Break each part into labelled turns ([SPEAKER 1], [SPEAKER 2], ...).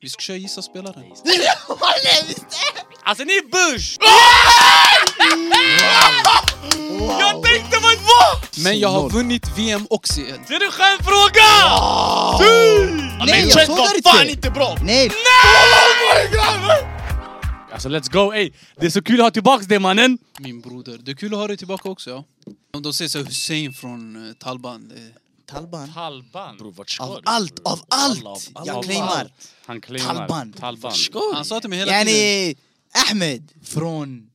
[SPEAKER 1] Vi ska köra gissa spelaren.
[SPEAKER 2] Alltså ni är bush! Jag tänkte vad det var!
[SPEAKER 1] Men jag har vunnit VM och CL.
[SPEAKER 2] Det är en skönfråga!
[SPEAKER 3] Nej, jag
[SPEAKER 4] Chet
[SPEAKER 3] såg
[SPEAKER 4] var
[SPEAKER 3] där inte.
[SPEAKER 4] fan inte bra!
[SPEAKER 3] Nej!
[SPEAKER 2] Alltså let's go ey! Det är så kul att ha tillbaks det mannen!
[SPEAKER 1] Min broder. Det är kul att ha dig tillbaka också. Ja. Om de säger så här, Hussein från eh, Talban. eh,
[SPEAKER 3] Talban.
[SPEAKER 2] Talban?
[SPEAKER 4] Bror vart
[SPEAKER 3] Av allt, av allt!
[SPEAKER 4] alla,
[SPEAKER 3] Jag
[SPEAKER 4] av
[SPEAKER 3] claimar.
[SPEAKER 2] allt. Han claimar.
[SPEAKER 3] Talban.
[SPEAKER 2] Talban.
[SPEAKER 1] Han sa till mig hela tiden.
[SPEAKER 3] Yani, Ahmed från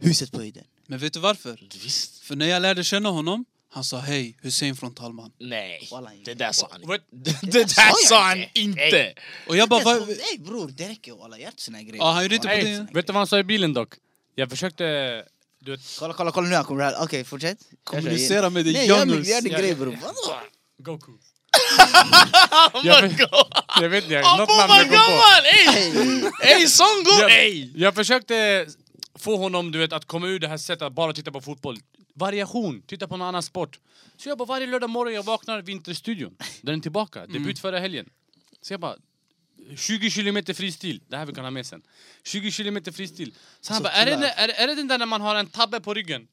[SPEAKER 3] huset på höjden.
[SPEAKER 1] Men vet du varför?
[SPEAKER 4] Visst?
[SPEAKER 1] För när jag lärde känna honom, han sa hej, Hussein från Talban.
[SPEAKER 4] Nej,
[SPEAKER 3] Wallah,
[SPEAKER 4] det där sa han
[SPEAKER 2] Vad-
[SPEAKER 4] inte. Det där sa han inte!
[SPEAKER 1] Och jag bara, va?
[SPEAKER 3] Nej bror, det räcker walla, jag har inte såna grejer.
[SPEAKER 1] Ja, han gjorde inte på
[SPEAKER 2] Ey,
[SPEAKER 1] det.
[SPEAKER 2] vet du vad han sa i bilen dock? Jag försökte... Du vet,
[SPEAKER 3] Kolla, kolla, kolla nu han kommer här. Okej, fortsätt. Jag kör igen.
[SPEAKER 1] Kommunicera med dig,
[SPEAKER 3] Nej, jag gör min
[SPEAKER 1] Janus.
[SPEAKER 3] jag gör din
[SPEAKER 2] Ja,
[SPEAKER 3] grej
[SPEAKER 2] ja,
[SPEAKER 3] bror.
[SPEAKER 2] Goku.
[SPEAKER 4] Jag vet
[SPEAKER 2] Jag vet inte, något
[SPEAKER 4] Abo
[SPEAKER 2] namn
[SPEAKER 4] var
[SPEAKER 2] jag kom på.
[SPEAKER 4] gammal! Ey! Ey Songo! Ey!
[SPEAKER 2] Jag försökte få honom du vet, att komma ur det här sättet att bara titta på fotboll. Variation, titta på någon annan sport. Så jag bara varje lördag morgon jag vaknar Vinterstudion. Den är tillbaka,
[SPEAKER 1] Mm.
[SPEAKER 2] debut förra helgen. Så jag bara 20 kilometer fristil, det här vi kan ha med sen. 20 kilometer fristil. Så han bara, är det, är, det- är det den där när man har en tabbe på ryggen?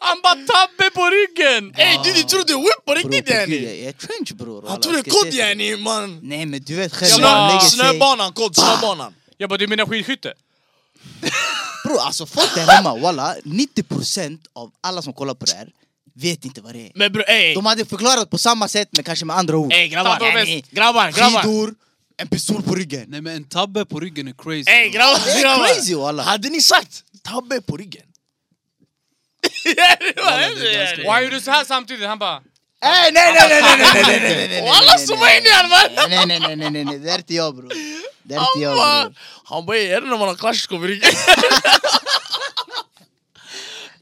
[SPEAKER 2] Han bara tabbe på ryggen!
[SPEAKER 4] Ey du, du trodde whip på
[SPEAKER 3] Bror,
[SPEAKER 4] riktigt
[SPEAKER 3] på Gud,
[SPEAKER 4] yani!
[SPEAKER 3] jag jag är trench bror.
[SPEAKER 4] Han
[SPEAKER 3] walla.
[SPEAKER 4] trodde
[SPEAKER 3] Ska jag säga
[SPEAKER 4] kod
[SPEAKER 3] så?
[SPEAKER 4] yani man!
[SPEAKER 3] Nej men du vet själv,
[SPEAKER 2] Snö-
[SPEAKER 3] han lägger sig.
[SPEAKER 4] Snöbanan, kod, snöbanan!
[SPEAKER 2] Jag bara, du menar skidskytte?
[SPEAKER 3] Bror alltså folk där hemma, walla, 90% av alla som kollar på det här vet inte vad det är.
[SPEAKER 4] Men bror ey!
[SPEAKER 3] De hade förklarat på samma sätt men kanske med andra ord.
[SPEAKER 4] Ey grabbar,
[SPEAKER 2] Tabbe och väst.
[SPEAKER 4] yani! Grabbar, grabbar!
[SPEAKER 3] Skidor, en pistol på ryggen.
[SPEAKER 1] Nej men en tabbe på ryggen är crazy.
[SPEAKER 4] Ey
[SPEAKER 1] bro.
[SPEAKER 3] Det
[SPEAKER 4] grabbar,
[SPEAKER 3] är crazy
[SPEAKER 4] grabbar!
[SPEAKER 3] walla.
[SPEAKER 4] Hade ni sagt tabbe på ryggen? Yani, vad
[SPEAKER 1] Wallah,
[SPEAKER 4] händer
[SPEAKER 1] det är ganska-
[SPEAKER 4] yani?
[SPEAKER 2] Och han gjorde så här samtidigt, han bara...
[SPEAKER 3] Nej nej nej nej nej nej nej nej nej nej
[SPEAKER 4] Och alla zoomar in i honom!
[SPEAKER 3] Nej nej nej nej nej nej, det är inte jag bror. Det är inte jag bror.
[SPEAKER 4] Han bara- Han bara, är det när man har klassisk över ryggen?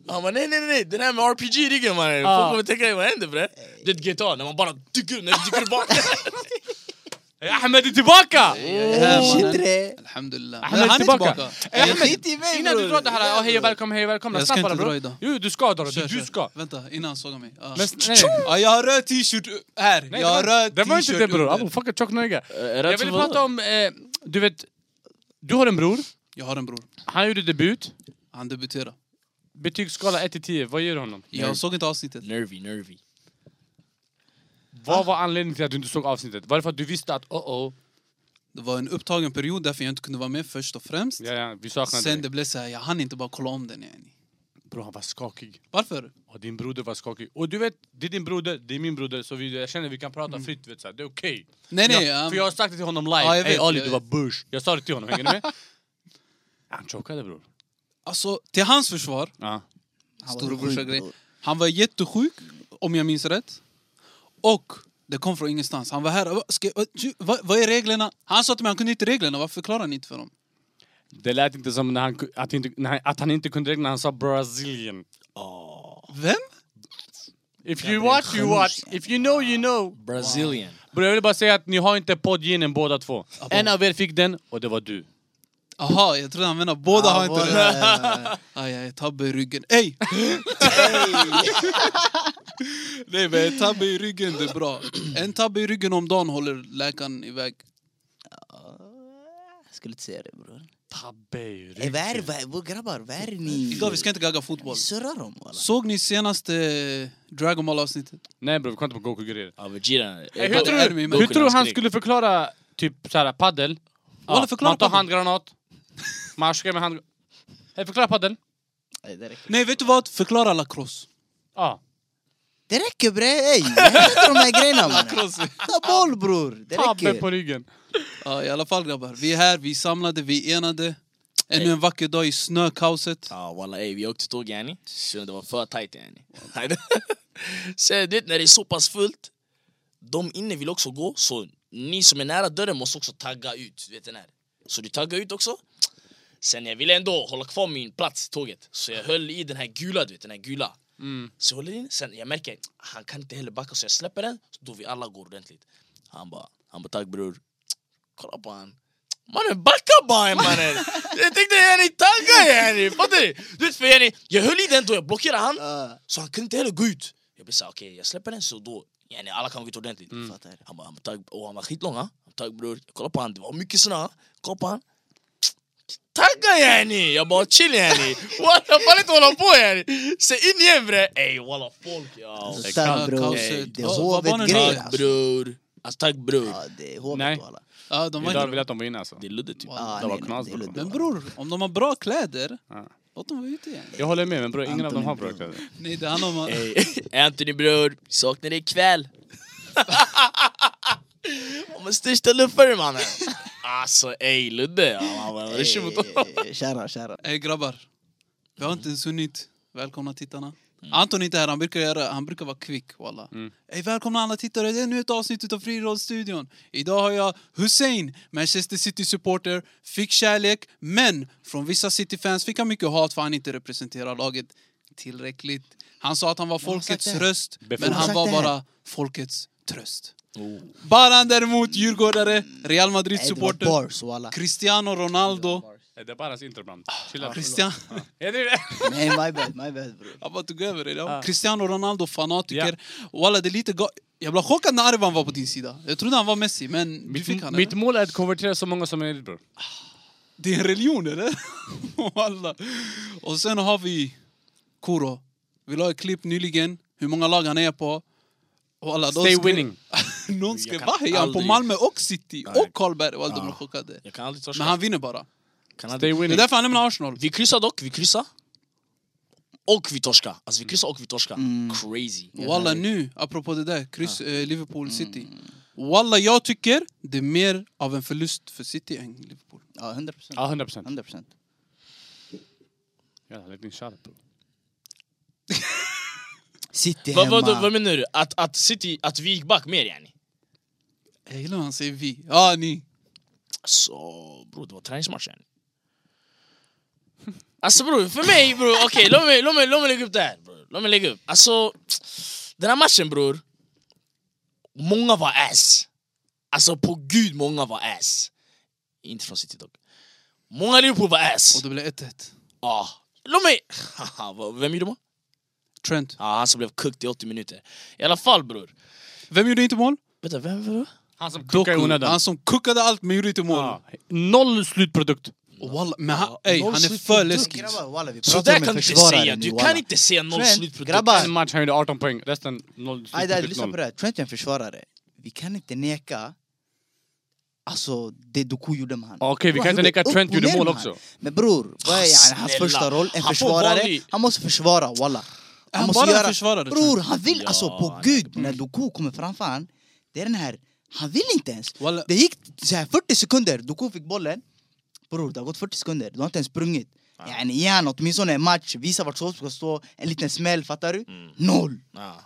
[SPEAKER 4] Han bara, nej nej nej, den här med RPG i ryggen mannen,
[SPEAKER 2] Ah.
[SPEAKER 4] folk kommer tänka vad händer bre? Det är ett GTA, när man bara dyker, när det dyker upp bakom.
[SPEAKER 2] Ahmed är tillbaka! oh,
[SPEAKER 3] Shit, det.
[SPEAKER 1] Alhamdulillah.
[SPEAKER 2] Ahmed
[SPEAKER 1] Men han är
[SPEAKER 2] tillbaka.
[SPEAKER 1] tillbaka.
[SPEAKER 2] Ey, Ahmed,
[SPEAKER 3] Skit i mig
[SPEAKER 2] Innan du drar det här, oh, hej och välkommen, hej och välkomna.
[SPEAKER 1] Jag ska
[SPEAKER 2] Snabbt bara,
[SPEAKER 1] inte
[SPEAKER 2] bror.
[SPEAKER 1] dra idag.
[SPEAKER 2] Jo, du ska dra det.
[SPEAKER 1] Kör,
[SPEAKER 2] Du
[SPEAKER 1] kör.
[SPEAKER 2] ska.
[SPEAKER 1] Vänta, innan han sågar mig. Ja.
[SPEAKER 2] Men, nej, nej.
[SPEAKER 1] Ja, jag har röd t-shirt här.
[SPEAKER 2] Nej,
[SPEAKER 1] jag har
[SPEAKER 2] det, var,
[SPEAKER 1] röd
[SPEAKER 2] det var inte det
[SPEAKER 1] t-shirt
[SPEAKER 2] bror, Ah,
[SPEAKER 1] under.
[SPEAKER 2] Abo fucking tjocknöga.
[SPEAKER 4] Jag
[SPEAKER 2] Jag ville prata om, eh, du vet, du har en bror,
[SPEAKER 1] Jag har en bror.
[SPEAKER 2] han gjorde debut.
[SPEAKER 1] Han debuterade.
[SPEAKER 2] Betygsskala 1-10, vad ger du honom? Eh,
[SPEAKER 1] Jag såg inte avsnittet.
[SPEAKER 4] Nervy, nervy.
[SPEAKER 2] Vad var anledningen till att du inte såg avsnittet? Var det för att du visste att oh, oh-oh,
[SPEAKER 1] Det var en upptagen period därför jag inte kunde vara med först och främst.
[SPEAKER 2] ja, ja, vi saknar
[SPEAKER 1] Sen
[SPEAKER 2] dig?
[SPEAKER 1] det blev så här, jag hann inte bara kolla om den. Yani.
[SPEAKER 2] Bror han var skakig.
[SPEAKER 1] Varför?
[SPEAKER 2] Och din broder var skakig. Och du vet, det är din broder, det är min broder, så vi, jag känner att vi kan prata fritt, vet, så här, det är okej.
[SPEAKER 1] Nej, nej.
[SPEAKER 2] jag,
[SPEAKER 1] um,
[SPEAKER 2] för jag har sagt det till honom
[SPEAKER 1] Ja,
[SPEAKER 2] live,
[SPEAKER 1] jag
[SPEAKER 2] ey
[SPEAKER 1] vet,
[SPEAKER 2] Ali
[SPEAKER 1] jag
[SPEAKER 2] du var
[SPEAKER 1] vet."
[SPEAKER 2] bush. Jag sa det till honom, hänger ni med? Han chokade bror.
[SPEAKER 1] Alltså, till hans försvar,
[SPEAKER 2] Ja.
[SPEAKER 3] Han var
[SPEAKER 1] storebrorsa
[SPEAKER 3] sjuk,
[SPEAKER 1] grej.
[SPEAKER 3] bror.
[SPEAKER 1] Han var jättesjuk, om jag minns rätt. Och det kom från ingenstans. Han var här. "Va, Ska, va, ju- va, vad är reglerna? Han sa till mig han kunde inte reglerna. Varför förklarar ni inte för dem?
[SPEAKER 2] Det lät inte som när han, ku- att, inte, när han, att han inte kunde regna, han sa Brazilian.
[SPEAKER 1] Vem?
[SPEAKER 2] If you watch, you watch. If you know, you know.
[SPEAKER 4] Brazilian.
[SPEAKER 2] Bror jag vill bara säga att ni har inte poddgenen båda två. En av er fick den och det var du.
[SPEAKER 1] Aha, jag trodde han menade båda har inte
[SPEAKER 3] båda,
[SPEAKER 1] reglerna. Aj, aj, tabbe i ryggen. Ey! Nej men en tabbe i ryggen det är bra. En tabbe i ryggen om dagen håller läkaren iväg.
[SPEAKER 3] Jag skulle inte säga det bror.
[SPEAKER 2] Tabbe i
[SPEAKER 3] Eh,
[SPEAKER 2] ryggen.
[SPEAKER 3] Vad är vad- vad- grabbar, vad är ni?
[SPEAKER 1] Idag vi ska inte gagga fotboll.
[SPEAKER 3] Ni surrar om walla.
[SPEAKER 1] Såg ni senaste Dragon Ball avsnittet?
[SPEAKER 2] Nej bror, vi kollar inte på Goku-grejer.
[SPEAKER 4] Ja men Jiran.
[SPEAKER 2] Hur tror
[SPEAKER 1] är
[SPEAKER 2] du,
[SPEAKER 1] det min-
[SPEAKER 2] hur tror du han
[SPEAKER 4] skrek.
[SPEAKER 2] skulle förklara typ såhär paddel?
[SPEAKER 1] Walla, förklara
[SPEAKER 2] man tar
[SPEAKER 1] paddel.
[SPEAKER 2] handgranat. Man skär med handgranat. Förklara paddel.
[SPEAKER 3] Nej, Det räcker.
[SPEAKER 1] Nej vet du vad? Förklara lacrosse.
[SPEAKER 2] Ja.
[SPEAKER 3] Det räcker bre, ey! Sluta de här grejerna mannen.
[SPEAKER 1] Lacrosse.
[SPEAKER 3] Ta boll bror, det
[SPEAKER 2] Tabbe
[SPEAKER 3] räcker.
[SPEAKER 2] på ryggen.
[SPEAKER 1] Ja, I alla fall grabbar, vi är här, vi är samlade, vi är enade. Ännu en vacker dag i snökaoset.
[SPEAKER 4] Ja walla ey, vi åkte tåg yani. Så det var för tight yani. Sen du vet när det är så pass fullt, de inne vill också gå så ni som är nära dörren måste också tagga ut. Du vet den här. Så du taggar ut också. Sen jag ville ändå hålla kvar min plats i tåget så jag höll i den här gula, du vet den här gula.
[SPEAKER 2] Mm.
[SPEAKER 4] Så jag håller in, sen jag märker han kan inte heller backa så jag släpper den, så då vi alla går ordentligt. Han bara, han bara tack bror. Kolla på han. Mannen backa bara mannen! Jag tänkte yani tagga yani, fattar du? Du vet för yani, jag höll i den då, jag blockerade han
[SPEAKER 3] Ah.
[SPEAKER 4] så han kunde inte heller gå ut. Jag blev såhär okej jag släpper den så då Yani alla kan gå ut ordentligt.
[SPEAKER 3] Fattar.
[SPEAKER 4] Han bara, han bara, tack, och han var skitlång ha. Tack bror. Kolla på han, det var mycket snö. ha. Kolla på han. Tagga yani! Jag bara chill yani! Walla, jag fan inte hålla på yani! Se in igen bre! Ey walla folk ja!
[SPEAKER 3] Alltså,
[SPEAKER 2] exakt.
[SPEAKER 3] Stan bror,
[SPEAKER 1] Kaoset.
[SPEAKER 3] det är
[SPEAKER 1] Vad- vad var nu
[SPEAKER 3] hovet grejer
[SPEAKER 1] det?
[SPEAKER 4] Tack
[SPEAKER 3] alltså.
[SPEAKER 4] bror! Alltså tack bror!
[SPEAKER 3] Ja, det är
[SPEAKER 2] Nej.
[SPEAKER 3] hovet walla.
[SPEAKER 1] Ja, de var
[SPEAKER 2] Idag vill
[SPEAKER 1] inte...
[SPEAKER 2] jag att de var inne alltså.
[SPEAKER 4] Det är luddigt typ.
[SPEAKER 3] Ja,
[SPEAKER 2] Det var
[SPEAKER 3] nej, nej,
[SPEAKER 2] knas,
[SPEAKER 3] det är
[SPEAKER 2] bror.
[SPEAKER 3] luddigt.
[SPEAKER 1] Men bror, om de har bra kläder,
[SPEAKER 2] Ja.
[SPEAKER 1] låt dem vara ute igen.
[SPEAKER 2] Jag håller med men bror, ingen av dem
[SPEAKER 3] Anthony
[SPEAKER 2] har bra kläder.
[SPEAKER 1] Nej, det handlar om att...
[SPEAKER 4] Ey, Anthony bror, saknar dig ikväll! Han var största luffaren mannen! Alltså ey Ludde! Han var rushig mot honom!
[SPEAKER 3] Eh, Kära, kära.
[SPEAKER 1] Hej grabbar, vi har inte ens hunnit. Välkomna tittarna. Anton är inte här, han brukar, göra, han brukar vara kvick walla. Hej välkomna alla tittare, det är nu ett avsnitt av Frirollstudion. Idag har jag Hussein, Manchester City-supporter, fick kärlek, men från vissa City-fans fick han mycket hat för han inte representerar laget tillräckligt. Han sa att han var folkets
[SPEAKER 3] sagt det.
[SPEAKER 1] röst, men
[SPEAKER 2] Vem har
[SPEAKER 1] han
[SPEAKER 3] sagt
[SPEAKER 1] var
[SPEAKER 3] det här?
[SPEAKER 1] bara folkets tröst. Baran däremot, djurgårdare, Real
[SPEAKER 3] Nej, det var
[SPEAKER 1] Madrid-supporter,
[SPEAKER 3] bars walla.
[SPEAKER 1] Cristiano Ronaldo,
[SPEAKER 2] Det är bara hans intro ibland. Chilla.
[SPEAKER 1] Christian...
[SPEAKER 2] Är det det?
[SPEAKER 3] Nej, my bad, my bad bror.
[SPEAKER 1] Jag bara tog över det. Jag var
[SPEAKER 2] Ah.
[SPEAKER 1] Cristiano Ronaldo-fanatiker. Walla, det är lite ga- Jag blev chockad när Arvan var på din sida. Jag trodde han var Messi, men du fick
[SPEAKER 2] Mitt,
[SPEAKER 1] han
[SPEAKER 2] mitt
[SPEAKER 1] eller?
[SPEAKER 2] mål är att konvertera så många som möjligt bror.
[SPEAKER 1] Det är en religion, eller? Walla. Och sen har vi eh, Kuro. Vi la ett klipp nyligen, hur många lag han är på. Walla, de
[SPEAKER 2] Stay
[SPEAKER 1] skrev-
[SPEAKER 2] winning.
[SPEAKER 1] Någon skrev
[SPEAKER 4] kan
[SPEAKER 1] vad är han på
[SPEAKER 4] aldrig-
[SPEAKER 1] Malmö och City
[SPEAKER 4] Nej.
[SPEAKER 1] och Karlberg? Walla, de blev chockade.
[SPEAKER 4] Jag kan aldrig
[SPEAKER 1] Men
[SPEAKER 4] torska.
[SPEAKER 1] han vinner bara.
[SPEAKER 4] Kan
[SPEAKER 2] Stay
[SPEAKER 4] aldrig.
[SPEAKER 1] Det är
[SPEAKER 2] winning.
[SPEAKER 1] därför han lämnar Arsenal.
[SPEAKER 4] Vi kryssar dock, vi kryssar. Och vi torskar. Alltså vi kryssar och vi torskar. Crazy.
[SPEAKER 1] Walla nu, apropå det där, kryss eh,
[SPEAKER 3] Mm.
[SPEAKER 1] Liverpool City. Walla, jag tycker det är mer av en förlust för City än Liverpool.
[SPEAKER 3] Ja, 100 procent.
[SPEAKER 2] Ja, 100 procent.
[SPEAKER 3] 100 procent.
[SPEAKER 2] Jävlar, lägg din shoutout bror.
[SPEAKER 3] City
[SPEAKER 4] Vad, vad,
[SPEAKER 3] hemma.
[SPEAKER 4] vad menar du? Att, att, City, att vi gick back mer yani?
[SPEAKER 1] Jag gillar när han säger vi. Ja, ni.
[SPEAKER 4] Alltså bror, det var träningsmatch yani. Alltså bror, för mig bror, okej låt, mig, låt, mig, låt mig lägga upp det här. Bror. Låt mig lägga upp. Alltså, den här matchen bror, många var ass. Alltså på gud, många var ass. Inte från City dock. Många Liverpool var
[SPEAKER 1] Och
[SPEAKER 4] ass.
[SPEAKER 1] det blev 1-1.
[SPEAKER 4] Ja. Låt mig... Haha, Vem gjorde mål?
[SPEAKER 1] Trent.
[SPEAKER 4] Ja, han som blev kukt i 80 minuter. I alla fall bror.
[SPEAKER 1] Vem gjorde inte mål?
[SPEAKER 4] Vänta, vem var det?
[SPEAKER 2] Han som kuckar i
[SPEAKER 1] Doku.
[SPEAKER 2] onödan.
[SPEAKER 1] Han som kuckade allt men gjorde inte mål.
[SPEAKER 2] Ja. Noll slutprodukt.
[SPEAKER 1] Och Walla, men han, ey,
[SPEAKER 4] noll
[SPEAKER 1] han är
[SPEAKER 4] slut
[SPEAKER 1] för
[SPEAKER 4] på
[SPEAKER 1] läskig.
[SPEAKER 3] Grabbar walla, vi
[SPEAKER 4] Så
[SPEAKER 3] pratar
[SPEAKER 4] där
[SPEAKER 3] om
[SPEAKER 4] kan
[SPEAKER 3] en
[SPEAKER 4] du inte
[SPEAKER 3] försvarare
[SPEAKER 4] säga.
[SPEAKER 3] nu,
[SPEAKER 4] Du
[SPEAKER 3] walla.
[SPEAKER 4] kan inte säga noll
[SPEAKER 3] Trent,
[SPEAKER 4] slutprodukt.
[SPEAKER 3] grabbar.
[SPEAKER 2] En match han gjorde 18 poäng, resten noll
[SPEAKER 3] Aida,
[SPEAKER 2] slutprodukt
[SPEAKER 3] lyssna på
[SPEAKER 2] noll.
[SPEAKER 3] det här. Trent är en försvarare. Vi kan inte neka alltså, det Doku gjorde med han.
[SPEAKER 2] Okej, vi
[SPEAKER 3] Bro,
[SPEAKER 2] kan inte
[SPEAKER 3] han
[SPEAKER 2] neka
[SPEAKER 3] gjorde
[SPEAKER 2] att Trent
[SPEAKER 3] upp och
[SPEAKER 2] gjorde
[SPEAKER 3] ner
[SPEAKER 2] mål
[SPEAKER 3] med han.
[SPEAKER 2] också.
[SPEAKER 3] Men bror, vad är
[SPEAKER 4] Ah,
[SPEAKER 3] han, hans
[SPEAKER 4] snälla.
[SPEAKER 3] första roll? En
[SPEAKER 4] Han får
[SPEAKER 3] försvarare.
[SPEAKER 4] vanlig-
[SPEAKER 3] Han måste försvara, walla.
[SPEAKER 1] han bara en försvarare,
[SPEAKER 3] Bror, han vill
[SPEAKER 4] Ja,
[SPEAKER 3] alltså på
[SPEAKER 4] han-
[SPEAKER 3] gud, när Doku kommer framför han, det är den här, han vill inte ens.
[SPEAKER 1] Walla.
[SPEAKER 3] Det gick så här 40 sekunder, Doku fick bollen. Bror, det har gått 40 sekunder, du har inte ens sprungit.
[SPEAKER 2] Ah.
[SPEAKER 3] Yani, ge han åtminstone en match, visa vart Sol ska stå, en liten smäll, fattar du?
[SPEAKER 2] Mm.
[SPEAKER 3] Noll!
[SPEAKER 4] Ja.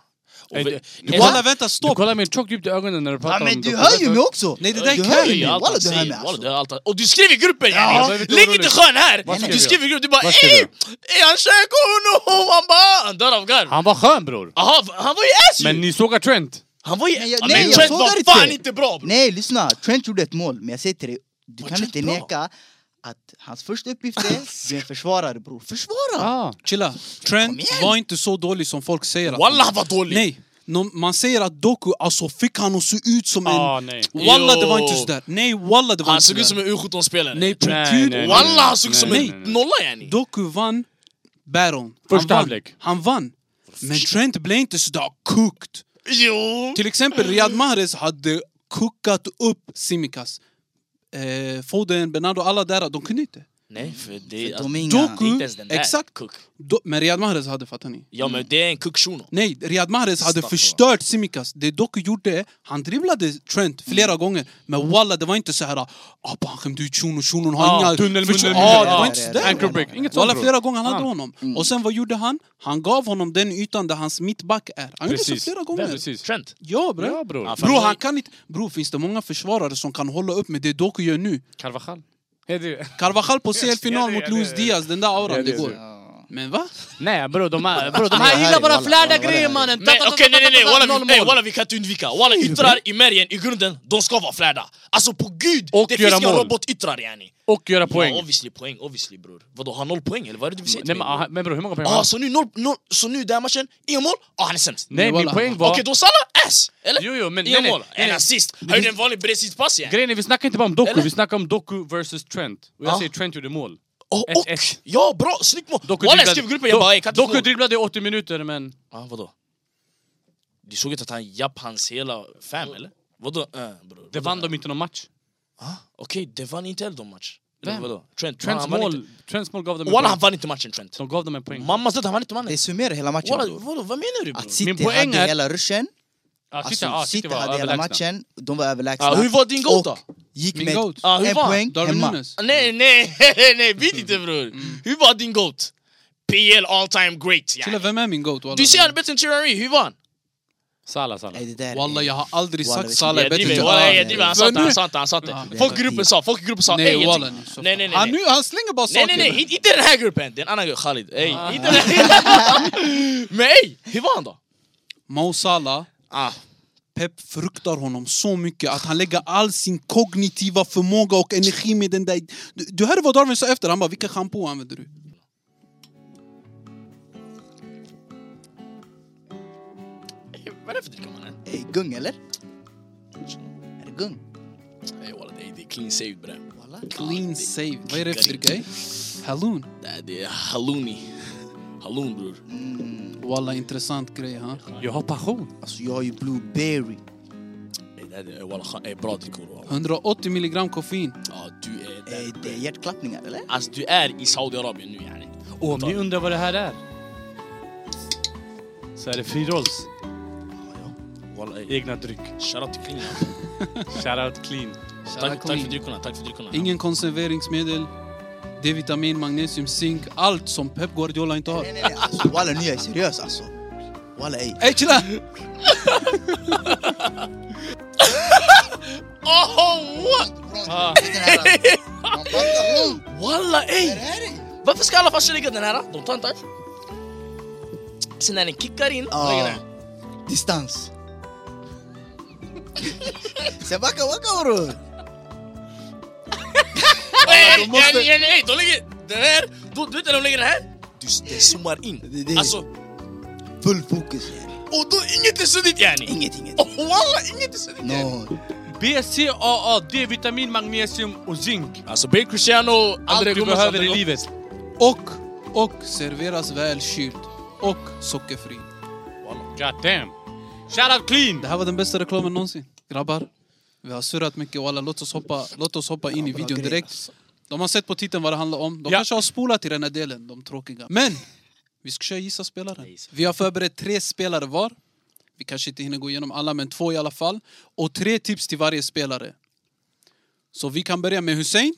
[SPEAKER 4] Och
[SPEAKER 2] Ey,
[SPEAKER 4] vi-
[SPEAKER 2] du-
[SPEAKER 4] Eh,
[SPEAKER 2] du
[SPEAKER 1] Walla,
[SPEAKER 2] kollar-
[SPEAKER 1] vänta,
[SPEAKER 2] Du
[SPEAKER 1] stopp!
[SPEAKER 2] kollar mig tjockt djupt i ögonen när du
[SPEAKER 3] Ja,
[SPEAKER 2] pratar
[SPEAKER 3] men
[SPEAKER 2] om
[SPEAKER 3] du
[SPEAKER 2] Doku.
[SPEAKER 3] hör ju mig också!
[SPEAKER 1] Nej, det där
[SPEAKER 3] du
[SPEAKER 1] kan
[SPEAKER 3] hör
[SPEAKER 1] ju
[SPEAKER 3] ju mig,
[SPEAKER 4] allt
[SPEAKER 3] walla
[SPEAKER 4] han
[SPEAKER 3] du hör mig
[SPEAKER 4] säger, walla, du
[SPEAKER 3] alltså.
[SPEAKER 4] hör allt han- Och du skrev i gruppen
[SPEAKER 2] jag
[SPEAKER 4] yani!
[SPEAKER 2] blev lite
[SPEAKER 4] Lägg
[SPEAKER 2] orolig.
[SPEAKER 4] inte skön här!
[SPEAKER 2] Vad skrev
[SPEAKER 4] Du
[SPEAKER 2] jag?
[SPEAKER 4] skrev i gruppen, du bara
[SPEAKER 2] Vad skrev
[SPEAKER 4] ey!
[SPEAKER 2] jag?
[SPEAKER 4] Ey han käkar honom! Han bara... Han dör av garv!
[SPEAKER 2] Han var skön bror!
[SPEAKER 4] Aha, han var ju ass
[SPEAKER 2] Men
[SPEAKER 4] Alltså, ju!
[SPEAKER 2] ni sågar Trent!
[SPEAKER 4] Han var ju...
[SPEAKER 3] Nej,
[SPEAKER 4] Ja,
[SPEAKER 3] jag- nej,
[SPEAKER 4] Men
[SPEAKER 3] jag
[SPEAKER 4] Trent
[SPEAKER 3] sågar
[SPEAKER 4] var
[SPEAKER 3] inte.
[SPEAKER 4] fan inte bra! bror.
[SPEAKER 3] alltså. Nej, lyssna. Trent gjorde ett mål, men jag säger till dig, du
[SPEAKER 4] Var
[SPEAKER 3] kan
[SPEAKER 4] Trent
[SPEAKER 3] inte
[SPEAKER 4] bra?
[SPEAKER 3] neka att hans första uppgift är, du är en försvarare bror. Försvara!
[SPEAKER 2] Ah.
[SPEAKER 1] Chilla. Trent
[SPEAKER 3] igen.
[SPEAKER 1] var inte så dålig som folk säger. att-
[SPEAKER 4] Walla han var dålig!
[SPEAKER 1] Nej. Nå- Man säger att Doku, alltså fick han att se ut som en...
[SPEAKER 2] Ah, nej.
[SPEAKER 1] Walla, det var
[SPEAKER 4] Jo.
[SPEAKER 1] inte sådär. Nej, walla, det var
[SPEAKER 4] Han
[SPEAKER 1] inte
[SPEAKER 4] såg ut som
[SPEAKER 1] sådär.
[SPEAKER 4] en U17-spelare.
[SPEAKER 1] Nej, på
[SPEAKER 2] Nej,
[SPEAKER 1] gud.
[SPEAKER 2] nej, nej.
[SPEAKER 4] Walla han såg ut som
[SPEAKER 1] Nej.
[SPEAKER 4] en nolla yani!
[SPEAKER 1] Doku vann battlen.
[SPEAKER 2] Första
[SPEAKER 1] han vann.
[SPEAKER 2] halvlek.
[SPEAKER 1] han vann. Men Trent blev inte sådär kukt.
[SPEAKER 4] Jo!
[SPEAKER 1] Till exempel Riyad Mahrez hade kuckat upp Simicas. Eh, Foden, Bernardo, alla där, de kunde inte.
[SPEAKER 4] Nej för det...
[SPEAKER 3] För
[SPEAKER 4] alltså,
[SPEAKER 3] de är inga...
[SPEAKER 4] Det är
[SPEAKER 1] Doku,
[SPEAKER 4] inte ens den där.
[SPEAKER 1] exakt.
[SPEAKER 4] Cook.
[SPEAKER 1] Do, men Riyad Mahrez hade, fattar ni?
[SPEAKER 4] Ja men det är en cook shuno.
[SPEAKER 1] Nej, Riyad Mahrez hade
[SPEAKER 4] Staffa.
[SPEAKER 1] förstört Simicas. Det Doku gjorde, han dribblade Trent flera
[SPEAKER 2] Mm.
[SPEAKER 1] gånger. Men walla, det var inte så här ah, bara han skämde ut shunon, shunon har
[SPEAKER 2] Ah,
[SPEAKER 1] inga...
[SPEAKER 2] tunnel,
[SPEAKER 1] förtro-
[SPEAKER 2] tunnel,
[SPEAKER 1] ah,
[SPEAKER 2] tunnel.
[SPEAKER 1] det var
[SPEAKER 2] Ja,
[SPEAKER 1] inte
[SPEAKER 3] det är
[SPEAKER 1] sådär.
[SPEAKER 3] det.
[SPEAKER 2] Ankle break, inget sånt
[SPEAKER 1] Walla,
[SPEAKER 2] bror.
[SPEAKER 1] flera gånger han hade
[SPEAKER 2] Ah.
[SPEAKER 1] honom. Och sen vad gjorde han? Han gav honom den ytan där hans mittback är. Han gjorde så
[SPEAKER 2] Precis.
[SPEAKER 1] flera
[SPEAKER 2] Ja,
[SPEAKER 1] gånger.
[SPEAKER 2] Precis.
[SPEAKER 4] Trent.
[SPEAKER 1] Ja bre.
[SPEAKER 2] Ja bror.
[SPEAKER 4] Ja,
[SPEAKER 1] Bro, han kan inte... Bro, finns det många försvarare som kan hålla upp med det Doku gör nu?
[SPEAKER 2] Carvajal. Är det-
[SPEAKER 1] Carvajal på
[SPEAKER 2] Ja, det-
[SPEAKER 1] CL-final
[SPEAKER 2] ja,
[SPEAKER 1] mot
[SPEAKER 2] det-
[SPEAKER 1] Luis Diaz, den där
[SPEAKER 2] Ja,
[SPEAKER 1] auran,
[SPEAKER 2] det-
[SPEAKER 1] det går.
[SPEAKER 3] Ja.
[SPEAKER 1] Men va?
[SPEAKER 2] Nej bror, de här, bro, de här
[SPEAKER 3] Nej,
[SPEAKER 2] gillar bara
[SPEAKER 3] walla,
[SPEAKER 2] flärda
[SPEAKER 3] walla,
[SPEAKER 2] grejer
[SPEAKER 3] walla.
[SPEAKER 2] mannen!
[SPEAKER 4] Men
[SPEAKER 2] Ta, ta, ta,
[SPEAKER 4] okej,
[SPEAKER 2] ta,
[SPEAKER 4] nej
[SPEAKER 2] ta,
[SPEAKER 4] nej nej,
[SPEAKER 2] ta,
[SPEAKER 4] walla
[SPEAKER 2] noll
[SPEAKER 4] vi- nej,
[SPEAKER 2] mål.
[SPEAKER 4] walla vi kan inte undvika. Walla yttrar i märgen, i grunden, de ska vara flärda. Alltså på gud,
[SPEAKER 2] Och
[SPEAKER 4] det
[SPEAKER 2] göra
[SPEAKER 4] finns inga
[SPEAKER 2] mål.
[SPEAKER 4] robotyttrar yani.
[SPEAKER 2] Och göra
[SPEAKER 4] Ja,
[SPEAKER 2] poäng.
[SPEAKER 4] obviously poäng, obviously bror. Vadå, har noll poäng eller vad är det du vill säga
[SPEAKER 2] Nej,
[SPEAKER 4] till
[SPEAKER 2] men,
[SPEAKER 4] mig?
[SPEAKER 2] ah, men bror, hur många poäng har
[SPEAKER 4] Ah,
[SPEAKER 2] han?
[SPEAKER 4] så nu noll, noll, så nu den här matchen, inga mål? Ah, han är sämst.
[SPEAKER 2] Nej, min
[SPEAKER 1] Walla.
[SPEAKER 2] poäng
[SPEAKER 4] Okej,
[SPEAKER 2] var...
[SPEAKER 4] då Salah ass! Eller?
[SPEAKER 2] Jo, jo, men
[SPEAKER 4] Inga
[SPEAKER 2] nej, nej,
[SPEAKER 4] mål,
[SPEAKER 2] nej,
[SPEAKER 4] en
[SPEAKER 2] nej.
[SPEAKER 4] assist. Han gjorde en vanlig bredsidspass yani.
[SPEAKER 2] Grejen är, vi snackar inte bara om Doku,
[SPEAKER 4] Eller?
[SPEAKER 2] vi snackar om Doku versus Trent. Och jag
[SPEAKER 4] Ja.
[SPEAKER 2] säger Trent gjorde mål.
[SPEAKER 4] Och,
[SPEAKER 2] Ett,
[SPEAKER 4] och,
[SPEAKER 2] ett.
[SPEAKER 4] ja bra, snyggt mål!
[SPEAKER 2] Doku
[SPEAKER 4] Walla jag
[SPEAKER 2] dribblade-
[SPEAKER 4] skrev i gruppen, jag bara ey, kan
[SPEAKER 2] Doku
[SPEAKER 4] inte få-
[SPEAKER 2] dribblade i 80 minuter men...
[SPEAKER 4] Ah, vadå? Du såg inte att han japp hans hela fam eller? Vadå? Eh, bror.
[SPEAKER 2] Det vann de inte någon match.
[SPEAKER 4] Ah, Okej, det vann inte heller de match. Eller
[SPEAKER 2] Vem?
[SPEAKER 4] Vadå? Trent.
[SPEAKER 2] Trents
[SPEAKER 4] han vann
[SPEAKER 2] mål,
[SPEAKER 4] inte-
[SPEAKER 2] Trents mål gav dem en
[SPEAKER 4] Walla han
[SPEAKER 2] poäng.
[SPEAKER 4] vann inte matchen Trent.
[SPEAKER 2] De gav dem en poäng.
[SPEAKER 4] Mammas död, han vann inte
[SPEAKER 3] Det
[SPEAKER 4] matchen.
[SPEAKER 3] summerar hela matchen.
[SPEAKER 4] Walla,
[SPEAKER 3] bror.
[SPEAKER 4] vadå, vad menar du bror?
[SPEAKER 3] Att City
[SPEAKER 2] poäng
[SPEAKER 3] hade
[SPEAKER 2] är-
[SPEAKER 3] hela ruschen,
[SPEAKER 2] Ah,
[SPEAKER 3] alltså
[SPEAKER 2] ah,
[SPEAKER 3] City hade hela
[SPEAKER 2] överlägsna.
[SPEAKER 3] matchen, de var överlägsna.
[SPEAKER 4] Ah, hur var din goal
[SPEAKER 3] Och
[SPEAKER 4] då?
[SPEAKER 3] Gick
[SPEAKER 1] Min
[SPEAKER 3] med
[SPEAKER 1] goat.
[SPEAKER 4] Ah, hur
[SPEAKER 3] en
[SPEAKER 4] var?
[SPEAKER 3] poäng
[SPEAKER 1] Darwin
[SPEAKER 3] hemma.
[SPEAKER 1] Nunes?
[SPEAKER 4] Nej, nej, nej, bit inte bror.
[SPEAKER 2] Mm.
[SPEAKER 4] Hur var din GOAT? PL all time great.
[SPEAKER 1] Chilla,
[SPEAKER 4] Yani.
[SPEAKER 1] vem är min goat? walla?
[SPEAKER 4] Du ser han är bättre än Thierry, hur var han?
[SPEAKER 2] Salah, Salah.
[SPEAKER 3] Nej, det där
[SPEAKER 1] Walla,
[SPEAKER 3] är-
[SPEAKER 1] jag har aldrig
[SPEAKER 3] Walla,
[SPEAKER 1] sagt
[SPEAKER 3] vi-
[SPEAKER 1] Salah är
[SPEAKER 4] Jag
[SPEAKER 1] bättre
[SPEAKER 4] driver,
[SPEAKER 1] än
[SPEAKER 4] walla,
[SPEAKER 1] Salah.
[SPEAKER 4] jag driver, han sa inte, han sa inte, han sa
[SPEAKER 1] Ja.
[SPEAKER 4] inte. Folk i gruppen sa, folk i gruppen sa
[SPEAKER 1] Nej
[SPEAKER 4] ej,
[SPEAKER 1] walla.
[SPEAKER 4] ingenting. Nej, nej,
[SPEAKER 1] Han,
[SPEAKER 4] nej.
[SPEAKER 1] nu, han slänger bara
[SPEAKER 4] Nej,
[SPEAKER 1] saker.
[SPEAKER 4] nej, nej, inte den här gruppen, det är en annan grupp, Khalid. Ey, inte den här Men ey, hur var han då?
[SPEAKER 1] Mo Salah,
[SPEAKER 4] Ah,
[SPEAKER 1] Pep fruktar honom så mycket att han lägger all sin kognitiva förmåga och energi med den där... Du, du hörde vad Darwin sa efter, han bara vilken shampoo använder du?
[SPEAKER 4] vad är det för dricka mannen?
[SPEAKER 3] Eh, Gung eller? Är det gung?
[SPEAKER 4] Ey walla, det är- det är clean saved bre.
[SPEAKER 3] Walla.
[SPEAKER 1] Clean save. Vad är det för grej? Halloon.
[SPEAKER 4] Det är- Det är halloumi. Halloum bror.
[SPEAKER 1] Walla, intressant grej ha.
[SPEAKER 2] Jag har passion.
[SPEAKER 3] Alltså jag har ju blueberry.
[SPEAKER 4] Ey, det är- det är walla, scha- ey, bra drickor walla.
[SPEAKER 1] 180 milligram koffein.
[SPEAKER 4] Ja, du är
[SPEAKER 3] Eh,
[SPEAKER 4] där.
[SPEAKER 3] Det är hjärtklappningar eller?
[SPEAKER 4] Alltså du är i Saudiarabien nu yani.
[SPEAKER 2] Och om ni undrar vad det här är. Så är det frirolls
[SPEAKER 4] Walla, ey.
[SPEAKER 2] egna dryck.
[SPEAKER 4] Shoutout till Klingon.
[SPEAKER 2] Shoutout clean.
[SPEAKER 4] Tack, tack för dryckerna, tack för dryckerna.
[SPEAKER 1] Ingen konserveringsmedel. D-vitamin, magnesium, zink. Allt som Pep Guardiola inte har.
[SPEAKER 3] Nej nej nej, alltså walla nu är jag seriös alltså. Walla ey.
[SPEAKER 1] Ey chilla!
[SPEAKER 4] Oh, what?
[SPEAKER 2] Ah.
[SPEAKER 3] Den här, man fattar lugnt.
[SPEAKER 4] Walla
[SPEAKER 3] Det
[SPEAKER 4] ey!
[SPEAKER 3] här är-
[SPEAKER 4] Varför ska alla farsor lägga den här? De tar inte alls. Sen när den kickar in,
[SPEAKER 3] Ja.
[SPEAKER 4] lägger den.
[SPEAKER 3] Distans. Sen backa backa bror.
[SPEAKER 4] Ey, ey,
[SPEAKER 1] de måste-
[SPEAKER 4] ey, ey, ey, de lägger den här. Då- Du vet när de lägger den här? Du, det zoomar
[SPEAKER 3] Det-
[SPEAKER 4] in.
[SPEAKER 3] det-
[SPEAKER 4] Alltså,
[SPEAKER 3] Full fokus. yani.
[SPEAKER 4] och då inget är suddigt yani.
[SPEAKER 3] Inget inget.
[SPEAKER 4] Oh, Walla, inget är suddigt yani.
[SPEAKER 3] No.
[SPEAKER 2] B, C, A, A, D-vitamin, magnesium och zink.
[SPEAKER 4] Alltså, Bale Cristiano,
[SPEAKER 2] Allt
[SPEAKER 4] André
[SPEAKER 2] du
[SPEAKER 4] Gomes,
[SPEAKER 2] behöver
[SPEAKER 4] André
[SPEAKER 2] i
[SPEAKER 4] Gomes.
[SPEAKER 2] livet.
[SPEAKER 1] Och, och serveras väl kylt. Och sockerfri.
[SPEAKER 2] God damn. Shoutout clean.
[SPEAKER 1] Det här var den bästa reklamen någonsin. Grabbar, vi har surrat mycket. Walla, låt oss hoppa, låt oss hoppa in i
[SPEAKER 3] bra
[SPEAKER 1] videon
[SPEAKER 3] grej,
[SPEAKER 1] direkt. De har sett på titeln vad det handlar om. De
[SPEAKER 2] Ja.
[SPEAKER 1] kanske har spolat i den här delen, de tråkiga. Men! Vi ska köra gissa spelaren. Vi har förberett tre spelare var. Vi kanske inte hinner gå igenom alla, men två i alla fall. Och tre tips till varje spelare. Så vi kan börja med Hussein.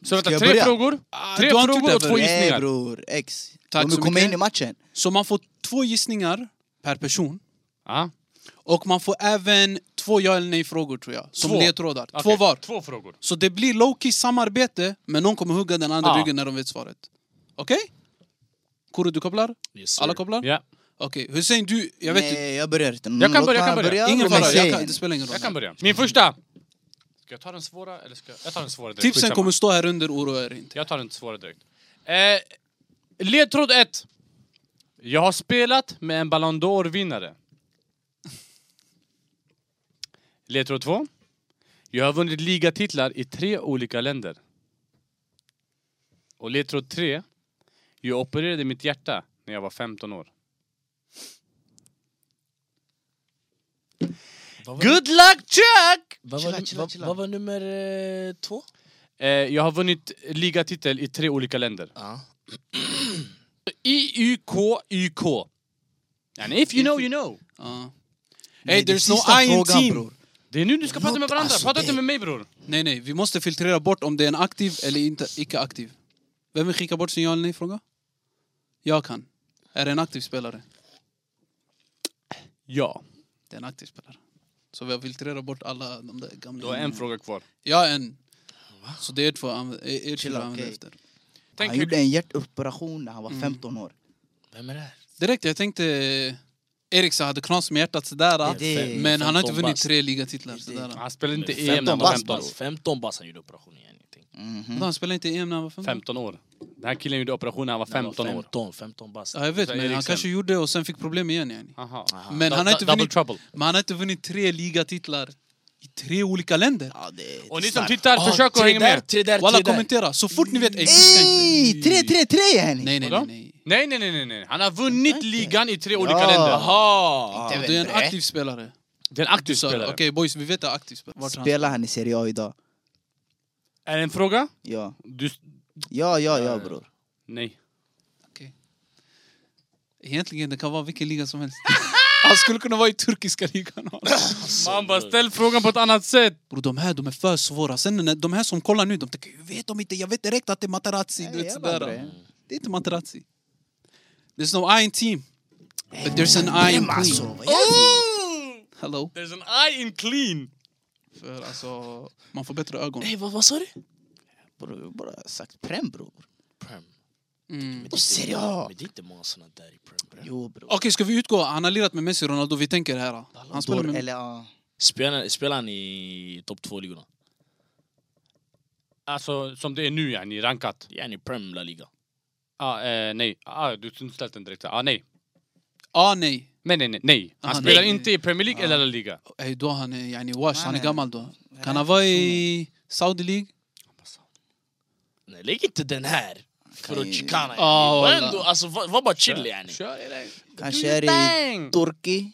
[SPEAKER 2] Så
[SPEAKER 3] Ska
[SPEAKER 2] vänta,
[SPEAKER 3] jag
[SPEAKER 2] tre
[SPEAKER 3] börja?
[SPEAKER 2] frågor.
[SPEAKER 1] Ah,
[SPEAKER 2] Tre
[SPEAKER 1] du har inte
[SPEAKER 2] frågor och
[SPEAKER 1] gjort det
[SPEAKER 2] två
[SPEAKER 1] förut.
[SPEAKER 3] Nej
[SPEAKER 2] gissningar.
[SPEAKER 3] bror, ex.
[SPEAKER 1] Tack
[SPEAKER 3] Eh, Om vi
[SPEAKER 1] så
[SPEAKER 3] kommer
[SPEAKER 1] mycket.
[SPEAKER 3] in i matchen.
[SPEAKER 1] Så man får två gissningar per person.
[SPEAKER 2] Ja.
[SPEAKER 1] Och man får även två ja eller nej-frågor, tror jag. Som
[SPEAKER 2] Två.
[SPEAKER 1] ledtrådar. Två
[SPEAKER 2] Okej,
[SPEAKER 1] var.
[SPEAKER 2] Två frågor.
[SPEAKER 1] Så det blir low-key samarbete, men någon kommer hugga den andra
[SPEAKER 2] Ja.
[SPEAKER 1] ryggen när de vet svaret. Okej? Kuro, du kopplar?
[SPEAKER 4] Yes, sir.
[SPEAKER 1] Alla kopplar?
[SPEAKER 2] Ja.
[SPEAKER 1] Okej, Hussein, du... Jag vet inte.
[SPEAKER 3] Nej, jag börjar inte.
[SPEAKER 2] Jag kan
[SPEAKER 3] Låt
[SPEAKER 2] börja, jag
[SPEAKER 3] han
[SPEAKER 2] kan börja.
[SPEAKER 1] Ingen
[SPEAKER 3] bror, men
[SPEAKER 1] fara, jag
[SPEAKER 3] säg
[SPEAKER 1] kan,
[SPEAKER 3] en.
[SPEAKER 1] det spelar ingen roll.
[SPEAKER 2] Jag kan börja. Min första. Ska jag ta den svåra eller ska jag... Jag tar den svåra direkt.
[SPEAKER 1] Tipsen
[SPEAKER 2] skitsamma.
[SPEAKER 1] kommer stå här under, oroa er inte.
[SPEAKER 2] Jag tar den svåra direkt. Eh, ledtråd 1. Jag har spelat med en Ballon d'Or-vinnare. Ledtråd 2. Jag har vunnit ligatitlar i tre olika länder. Och ledtråd 3. Jag opererade mitt hjärta när jag var 15 år. Good luck Chuck!
[SPEAKER 4] Vad
[SPEAKER 3] Chilla,
[SPEAKER 4] var-
[SPEAKER 3] chilla,
[SPEAKER 4] vad-
[SPEAKER 3] chilla.
[SPEAKER 4] Vad var nummer eh, två?
[SPEAKER 2] Eh, jag har vunnit ligatitel i tre olika länder.
[SPEAKER 4] Ja.
[SPEAKER 2] IUKYK. And if you know, you know.
[SPEAKER 1] Ja.
[SPEAKER 3] Nej,
[SPEAKER 1] Hey,
[SPEAKER 3] det är
[SPEAKER 1] there's no
[SPEAKER 3] sista
[SPEAKER 1] I in
[SPEAKER 3] frågan,
[SPEAKER 1] team!
[SPEAKER 3] bror.
[SPEAKER 2] Det är nu du ska prata med varandra.
[SPEAKER 3] alltså,
[SPEAKER 2] Prata inte
[SPEAKER 3] det-
[SPEAKER 2] med mig bror.
[SPEAKER 1] Nej, nej, vi måste filtrera bort om det är en aktiv eller inte, icke-aktiv. Vem vill skicka bort sin ja eller nej-fråga? Jag kan. Är det en aktiv spelare?
[SPEAKER 2] Ja.
[SPEAKER 1] Det är en aktiv spelare. Så vi har filtrerat bort alla de där gamla...
[SPEAKER 2] Du har en fråga kvar.
[SPEAKER 1] Ja, en. Så det är två anv- er- er två
[SPEAKER 3] Chilla,
[SPEAKER 1] använder
[SPEAKER 3] okej.
[SPEAKER 1] efter.
[SPEAKER 2] Tänk
[SPEAKER 3] han
[SPEAKER 2] hur...
[SPEAKER 3] gjorde en hjärtoperation när han
[SPEAKER 1] Mm.
[SPEAKER 3] var 15 år.
[SPEAKER 4] Vem är det här?
[SPEAKER 1] Direkt, jag tänkte... Eriksen hade knas med hjärtat sådär.
[SPEAKER 3] Det är det.
[SPEAKER 1] men han har inte
[SPEAKER 4] 15
[SPEAKER 1] vunnit
[SPEAKER 4] bast.
[SPEAKER 1] tre ligatitlar. Sådär.
[SPEAKER 2] Han spelade inte EM när
[SPEAKER 4] 15
[SPEAKER 2] han var
[SPEAKER 4] bast alltså.
[SPEAKER 2] 15 år.
[SPEAKER 4] bast. 15 bast han gjorde operationen yani. tänk.
[SPEAKER 1] Vadå, Han spelade inte i EM när han var 15?
[SPEAKER 2] 15 år. Den här killen gjorde operation när han var
[SPEAKER 4] När han var
[SPEAKER 2] 15 år.
[SPEAKER 4] 15, 15 bast.
[SPEAKER 1] Ja, jag vet,
[SPEAKER 2] Så
[SPEAKER 1] men han
[SPEAKER 2] Eriksen.
[SPEAKER 1] kanske gjorde och sen fick problem igen. Yani.
[SPEAKER 2] Aha.
[SPEAKER 4] Aha.
[SPEAKER 1] Men
[SPEAKER 2] Du-
[SPEAKER 1] han har inte
[SPEAKER 2] du- double
[SPEAKER 1] vunnit-
[SPEAKER 2] trouble.
[SPEAKER 1] Men han har inte vunnit tre ligatitlar i tre olika länder.
[SPEAKER 3] Ja, det är
[SPEAKER 2] Och ni som
[SPEAKER 3] starkt.
[SPEAKER 2] tittar,
[SPEAKER 4] Ah,
[SPEAKER 2] försök att
[SPEAKER 4] tre
[SPEAKER 2] hänga
[SPEAKER 4] där,
[SPEAKER 2] med.
[SPEAKER 4] Tre där,
[SPEAKER 1] Walla
[SPEAKER 4] tre där.
[SPEAKER 1] kommentera, så fort ni vet. Ey, fuska inte.
[SPEAKER 3] Ey! 3-3-3 yani!
[SPEAKER 1] Nej, nej,
[SPEAKER 2] Vadå?
[SPEAKER 1] nej. nej.
[SPEAKER 2] Nej, nej, nej, nej, nej. Han har vunnit ligan i tre olika
[SPEAKER 3] Ja.
[SPEAKER 2] länder.
[SPEAKER 4] Aha!
[SPEAKER 3] Inte
[SPEAKER 1] Och du är en
[SPEAKER 3] vet
[SPEAKER 1] aktiv spelare.
[SPEAKER 2] Det är en aktiv
[SPEAKER 1] Så, Okej
[SPEAKER 2] spelare.
[SPEAKER 1] boys, vi vet att aktiv spelare. Vart
[SPEAKER 3] jag.
[SPEAKER 1] han
[SPEAKER 3] Spelar han i Serie A idag?
[SPEAKER 2] Är det en fråga?
[SPEAKER 3] Ja.
[SPEAKER 2] Du...
[SPEAKER 3] Ja, ja, ja bror.
[SPEAKER 2] Nej.
[SPEAKER 1] Okej. Egentligen det kan vara vilken liga som helst. Han skulle kunna vara i turkiska ligan.
[SPEAKER 2] Man bara ställ frågan på ett annat sätt.
[SPEAKER 1] Bro, de här de är för svåra. Sen när de här som kollar nu, de tänker jag vet de inte, jag vet direkt att det är Materazzi.
[SPEAKER 3] Nej,
[SPEAKER 1] du vet,
[SPEAKER 3] jävla
[SPEAKER 1] sådär.
[SPEAKER 3] bra, ja.
[SPEAKER 1] Det är inte Materazzi. There's no I in team. But there's an I in
[SPEAKER 3] Vem alltså?
[SPEAKER 1] team.
[SPEAKER 3] Vad är det?
[SPEAKER 1] Hello.
[SPEAKER 2] There's an eye in clean.
[SPEAKER 1] För alltså, man får bättre ögon.
[SPEAKER 4] Nej, vad, vad sa du?
[SPEAKER 3] Bror, jag har bara sagt Prem bror.
[SPEAKER 4] Prem.
[SPEAKER 1] Mm.
[SPEAKER 4] Men det är inte-
[SPEAKER 3] Serie A.
[SPEAKER 4] Men det är inte många såna där i Prem. bre.
[SPEAKER 3] Jo bror.
[SPEAKER 1] Okej, ska vi utgå? Han har lirat med Messi och Ronaldo. Vi tänker här. då. Han spelar
[SPEAKER 3] Dor-
[SPEAKER 1] med...
[SPEAKER 3] Eller ja.
[SPEAKER 4] Spelar, spelar han i topp två-ligorna?
[SPEAKER 2] Alltså som det är nu yani, rankat.
[SPEAKER 4] Yani Prem La Liga.
[SPEAKER 2] Ah, eh, nej, ah, du har inte ställt den direkt. Ah, nej.
[SPEAKER 1] Ah, nej.
[SPEAKER 2] Nej, nej, nej, nej. Han
[SPEAKER 1] Aha,
[SPEAKER 2] spelar
[SPEAKER 1] nej.
[SPEAKER 2] inte i Premier League eller La Liga.
[SPEAKER 1] Ey, då han är yani wash. Han är
[SPEAKER 3] Nej.
[SPEAKER 1] gammal då. Kan han vara i Saudi League?
[SPEAKER 4] Nej, lägg inte den här. För
[SPEAKER 3] Kan-
[SPEAKER 4] att chicana.
[SPEAKER 1] Ah,
[SPEAKER 4] yani. Var
[SPEAKER 1] wallah.
[SPEAKER 4] ändå, alltså, var, var bara chill yani.
[SPEAKER 2] Kör eller?
[SPEAKER 3] Kanske är i Turki.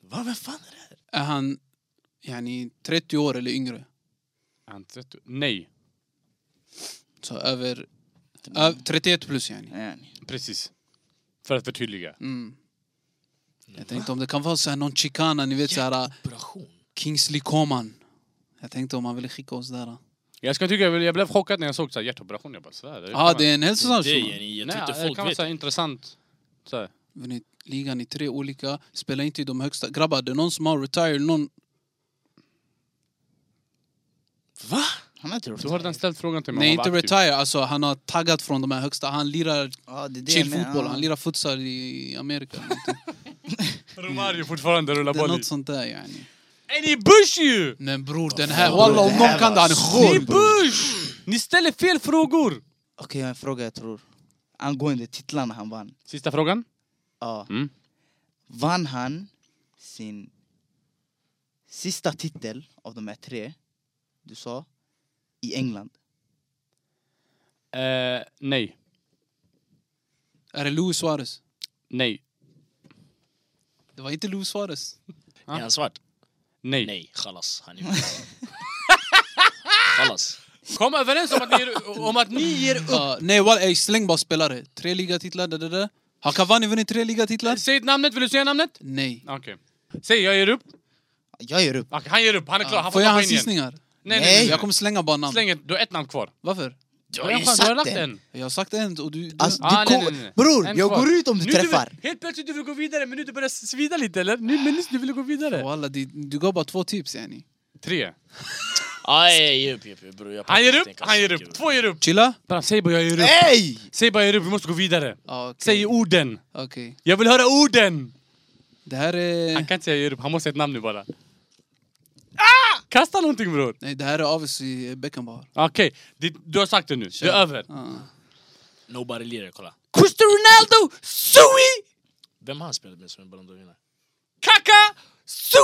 [SPEAKER 4] Vad vem fan är det här?
[SPEAKER 1] Är han yani 30 år eller yngre?
[SPEAKER 2] Han 30 Nej,
[SPEAKER 1] Så över... Ö, 31 plus yani.
[SPEAKER 3] Yani.
[SPEAKER 2] precis. För att förtydliga.
[SPEAKER 1] Mm. Jag tänkte om det kan vara så här någon chicana, ni vet så här äh,
[SPEAKER 4] Operation.
[SPEAKER 1] Kingsley Coman. Jag tänkte om han ville skicka oss där. Ja,
[SPEAKER 2] Jag ska tycka, jag blev- jag blev chockad när jag såg så här hjärtoperation. Jag bara svär. det
[SPEAKER 1] ah,
[SPEAKER 2] kan
[SPEAKER 1] det är en hälsosam
[SPEAKER 4] Det
[SPEAKER 1] shuno.
[SPEAKER 4] yani, jag
[SPEAKER 2] Nej,
[SPEAKER 4] tror inte
[SPEAKER 2] det kan vara
[SPEAKER 4] folk
[SPEAKER 2] så här
[SPEAKER 4] vet.
[SPEAKER 2] intressant. Så här.
[SPEAKER 1] Vunnit ligan i tre olika, spelar inte i de högsta. Grabbar, det är någon som har retired, någon...
[SPEAKER 4] Va?
[SPEAKER 3] Han har inte gjort
[SPEAKER 2] Du har typ- redan ställt frågan till mig.
[SPEAKER 1] Nej,
[SPEAKER 2] om han
[SPEAKER 1] inte
[SPEAKER 2] var aktiv.
[SPEAKER 1] retire, alltså han har taggat från de här högsta. Han lirar
[SPEAKER 3] Ja, det är det jag menar,
[SPEAKER 1] chill-fotboll,
[SPEAKER 3] ja.
[SPEAKER 1] han lirar futsal i Amerika. eller någonting.
[SPEAKER 2] Romario fortfarande rullar
[SPEAKER 1] det är
[SPEAKER 2] boll i.
[SPEAKER 1] något sånt där yani.
[SPEAKER 2] Är ni bush ju!
[SPEAKER 1] Men bror, den här,
[SPEAKER 3] fan,
[SPEAKER 1] walla
[SPEAKER 3] bror,
[SPEAKER 1] om
[SPEAKER 3] det här
[SPEAKER 1] någon kan
[SPEAKER 3] var
[SPEAKER 1] det, han är
[SPEAKER 2] Ni är
[SPEAKER 1] skön! bror.
[SPEAKER 2] bush! Ni ställer fel frågor!
[SPEAKER 3] Okej, jag har en fråga jag tror. Angående titlarna han vann.
[SPEAKER 2] Sista frågan.
[SPEAKER 3] Ja.
[SPEAKER 2] Mm.
[SPEAKER 3] Vann han sin sista titel av de här tre du sa i England?
[SPEAKER 2] Eh, nej,
[SPEAKER 1] Är det Luis Suarez?
[SPEAKER 2] nej,
[SPEAKER 1] Det var inte Luis Suarez.
[SPEAKER 4] Är han svart?
[SPEAKER 2] nej.
[SPEAKER 4] Nej, chalas. Han är Chalas.
[SPEAKER 2] Kom överens om att ni, om att ni ger upp.
[SPEAKER 1] Ja, nej, wall, ey, släng bara spelare. Tre ligatitlar, där, där, där. Har Cavani vunnit tre ligatitlar?
[SPEAKER 2] Säg namnet, vill du säga namnet?
[SPEAKER 1] Nej.
[SPEAKER 2] Okej. Säg jag ger upp.
[SPEAKER 3] Jag ger upp.
[SPEAKER 2] Okej, han ger upp, han är klar. Han
[SPEAKER 1] Får
[SPEAKER 2] får
[SPEAKER 1] jag
[SPEAKER 2] tappa
[SPEAKER 1] hans
[SPEAKER 2] in igen.
[SPEAKER 1] gissningar?
[SPEAKER 2] Nej, nej,
[SPEAKER 3] Nej.
[SPEAKER 2] nej.
[SPEAKER 1] Jag kommer slänga bara namn.
[SPEAKER 2] Släng ett, du har ett namn kvar.
[SPEAKER 1] Varför?
[SPEAKER 4] Du
[SPEAKER 2] Ja,
[SPEAKER 4] har ju
[SPEAKER 2] fan, du har
[SPEAKER 4] sagt
[SPEAKER 2] lagt
[SPEAKER 4] den.
[SPEAKER 2] en.
[SPEAKER 1] Jag har sagt en och du... du
[SPEAKER 3] Alltså,
[SPEAKER 2] Ah,
[SPEAKER 3] du
[SPEAKER 2] nej,
[SPEAKER 3] kom...
[SPEAKER 2] nej, nej.
[SPEAKER 3] Bror,
[SPEAKER 2] En
[SPEAKER 3] jag
[SPEAKER 2] kvar.
[SPEAKER 3] går ut om du
[SPEAKER 2] Nu
[SPEAKER 3] träffar.
[SPEAKER 2] vill, helt plötsligt du vill gå vidare, men nu du börjar svida lite eller? Nu, men nyss du ville gå vidare.
[SPEAKER 1] Walla, du, du gav bara två tips yani.
[SPEAKER 2] Tre.
[SPEAKER 4] Aj, aj, ge upp, ge upp, ge upp, bror. Jag
[SPEAKER 2] Han ger upp,
[SPEAKER 4] tänker
[SPEAKER 2] han ger
[SPEAKER 4] så mycket,
[SPEAKER 2] upp. Två ger upp.
[SPEAKER 1] Chilla?
[SPEAKER 2] Bara säg bara jag ger upp.
[SPEAKER 3] Nej!
[SPEAKER 2] Säg bara jag ger upp, vi måste gå vidare.
[SPEAKER 1] Ja, Ah, okej.
[SPEAKER 2] Säg orden.
[SPEAKER 1] Okej.
[SPEAKER 2] Jag vill höra orden!
[SPEAKER 1] Det här
[SPEAKER 2] Han
[SPEAKER 1] är...
[SPEAKER 2] kan inte säga jag ger upp, han måste säga ett namn nu bara. Kasta någonting bror!
[SPEAKER 1] Nej, det här är Avesi Beckenbauer.
[SPEAKER 2] Okej, det- du har sagt det nu. Det är över.
[SPEAKER 1] Ah.
[SPEAKER 4] bror. Nobody lirar, kolla.
[SPEAKER 2] Cristiano Ronaldo, Sui,
[SPEAKER 4] Vem har han spelat med som en Ballon d'Or-vinnare?
[SPEAKER 2] Kaka, Sui!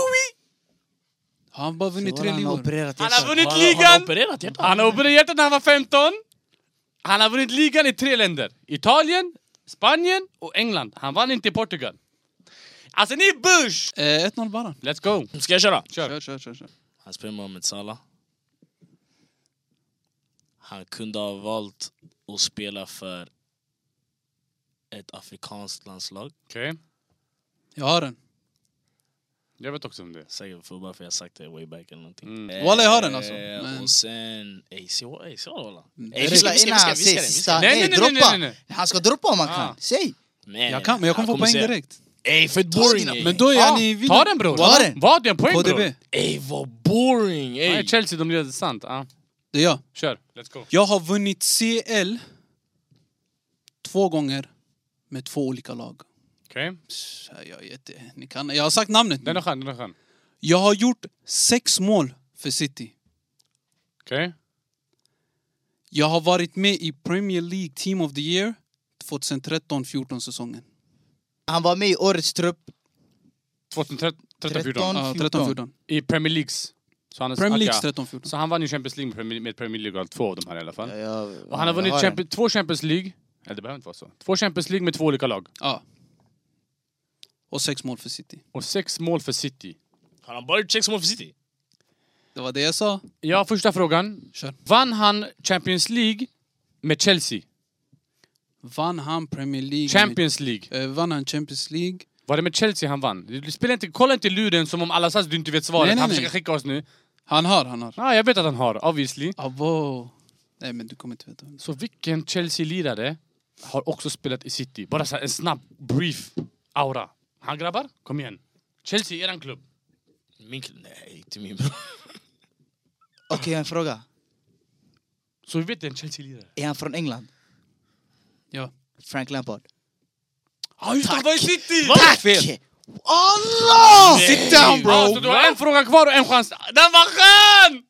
[SPEAKER 1] Har han bara vunnit
[SPEAKER 3] Walla,
[SPEAKER 1] tre
[SPEAKER 3] Han har
[SPEAKER 1] ligor?
[SPEAKER 3] opererat
[SPEAKER 2] Han
[SPEAKER 3] hjärtat.
[SPEAKER 2] har vunnit
[SPEAKER 4] Har han- har han
[SPEAKER 2] ligan!
[SPEAKER 4] opererat hjärtat?
[SPEAKER 2] Han har opererat hjärtat när han var 15. Han har vunnit ligan i tre länder. Italien, Spanien och England. Han vann inte i Portugal. Alltså ni är bush!
[SPEAKER 1] Eh, 1-0 bara.
[SPEAKER 2] Let's go!
[SPEAKER 4] Ska jag köra?
[SPEAKER 1] Kör, kör, kör. kör.
[SPEAKER 4] Han spelar med Mohamed Salah. Han kunde ha valt att spela för ett afrikanskt landslag.
[SPEAKER 2] Okej,
[SPEAKER 1] Jag har den.
[SPEAKER 2] jag vet också om det.
[SPEAKER 4] Säkert för bara för jag sagt det way back eller någonting.
[SPEAKER 2] Mm.
[SPEAKER 4] Eh,
[SPEAKER 1] Walla, jag har den alltså, men- Mm.
[SPEAKER 4] Och sen... Ey, se vad- ey, se vad walla. Ey,
[SPEAKER 1] Det
[SPEAKER 4] Eh, vi ska-
[SPEAKER 3] Chilla
[SPEAKER 4] vi ska- vi
[SPEAKER 3] innan
[SPEAKER 4] ska-
[SPEAKER 3] han
[SPEAKER 4] vi ska-
[SPEAKER 3] säger
[SPEAKER 4] vi ska-
[SPEAKER 3] sista.
[SPEAKER 2] Nej,
[SPEAKER 3] Nej,
[SPEAKER 2] nej, nej, nej,
[SPEAKER 3] droppa!
[SPEAKER 2] nej, nej.
[SPEAKER 3] Han ska droppa om han
[SPEAKER 2] Ah.
[SPEAKER 3] kan. Säg!
[SPEAKER 4] Nej, nej,
[SPEAKER 1] Jag kan, men Eh, jag kommer Eh, få
[SPEAKER 4] kommer
[SPEAKER 1] poäng
[SPEAKER 4] säga-
[SPEAKER 1] direkt.
[SPEAKER 4] Ey, för
[SPEAKER 3] Ta
[SPEAKER 4] boring!
[SPEAKER 3] dina-
[SPEAKER 4] ey.
[SPEAKER 1] Men då är
[SPEAKER 3] Ja,
[SPEAKER 1] jag ni
[SPEAKER 2] Ta den bror!
[SPEAKER 3] Ta den.
[SPEAKER 2] Vad, det är en poäng bror!
[SPEAKER 1] KDB.
[SPEAKER 4] Ey, vad boring!
[SPEAKER 2] Nej,
[SPEAKER 4] Ey.
[SPEAKER 2] Chelsea de leder sant. Ja.
[SPEAKER 1] Det är jag.
[SPEAKER 2] Kör, let's go.
[SPEAKER 1] Jag har vunnit CL två gånger med två olika lag.
[SPEAKER 2] Okej.
[SPEAKER 1] Så Jag, är jätte, ni kan, jag har sagt namnet
[SPEAKER 2] Den är
[SPEAKER 1] nu.
[SPEAKER 2] skön, den är skön.
[SPEAKER 1] Jag har gjort sex mål för City.
[SPEAKER 2] Okej.
[SPEAKER 1] Jag har varit med i Premier League Team of the Year 2013-14 säsongen.
[SPEAKER 3] Han var med i årets trupp.
[SPEAKER 2] 2013,
[SPEAKER 3] 13.
[SPEAKER 2] 2014.
[SPEAKER 1] Ja, 13-14.
[SPEAKER 2] I Premier Leagues. Så han,
[SPEAKER 1] Premier League
[SPEAKER 2] Akka.
[SPEAKER 1] 13-14.
[SPEAKER 2] Så han vann ju Champions League med Premier- med Premier League, och två av de här i alla fall.
[SPEAKER 3] jag,
[SPEAKER 2] Och han Eh, har vunnit
[SPEAKER 3] jag
[SPEAKER 2] Champions, två Champions League. Nej, det behöver inte vara så. Två Champions League med två olika lag.
[SPEAKER 1] Ja. Och sex mål för City.
[SPEAKER 2] Och sex mål för City.
[SPEAKER 4] Har han bara gjort sex mål för City?
[SPEAKER 1] Det var det jag sa.
[SPEAKER 2] Ja, första frågan.
[SPEAKER 1] Kör.
[SPEAKER 2] Vann han Champions League med Chelsea?
[SPEAKER 1] Vann han Premier League?
[SPEAKER 2] Champions League.
[SPEAKER 1] Med, eh, vann han Champions League?
[SPEAKER 2] Var det med Chelsea han vann? Du spelar inte, kolla inte i luren som om Alassaz du inte vet svaret.
[SPEAKER 1] Nej, nej,
[SPEAKER 2] han
[SPEAKER 1] nej.
[SPEAKER 2] försöker skicka oss nu.
[SPEAKER 1] Han har, han har.
[SPEAKER 2] Ja, jag vet att han har, obviously.
[SPEAKER 1] Abo. Nej men du kommer inte veta.
[SPEAKER 2] Så vilken Chelsea-lirare har också spelat i City? Bara så här, en snabb, brief aura. Han grabbar, kom igen. Chelsea, eran klubb.
[SPEAKER 4] Min klubb? Nej, inte min bror.
[SPEAKER 3] Okej, en fråga.
[SPEAKER 2] Så vi vet en Chelsea-lirare.
[SPEAKER 3] Är han från England?
[SPEAKER 1] Ja.
[SPEAKER 3] Frank Lampard.
[SPEAKER 2] Ja ah, just det, han var i City!
[SPEAKER 3] Tack!
[SPEAKER 1] Fel.
[SPEAKER 3] Allah!
[SPEAKER 4] Sit down, bro.
[SPEAKER 2] Ah, så du har en fråga kvar och en chans. Den var skön!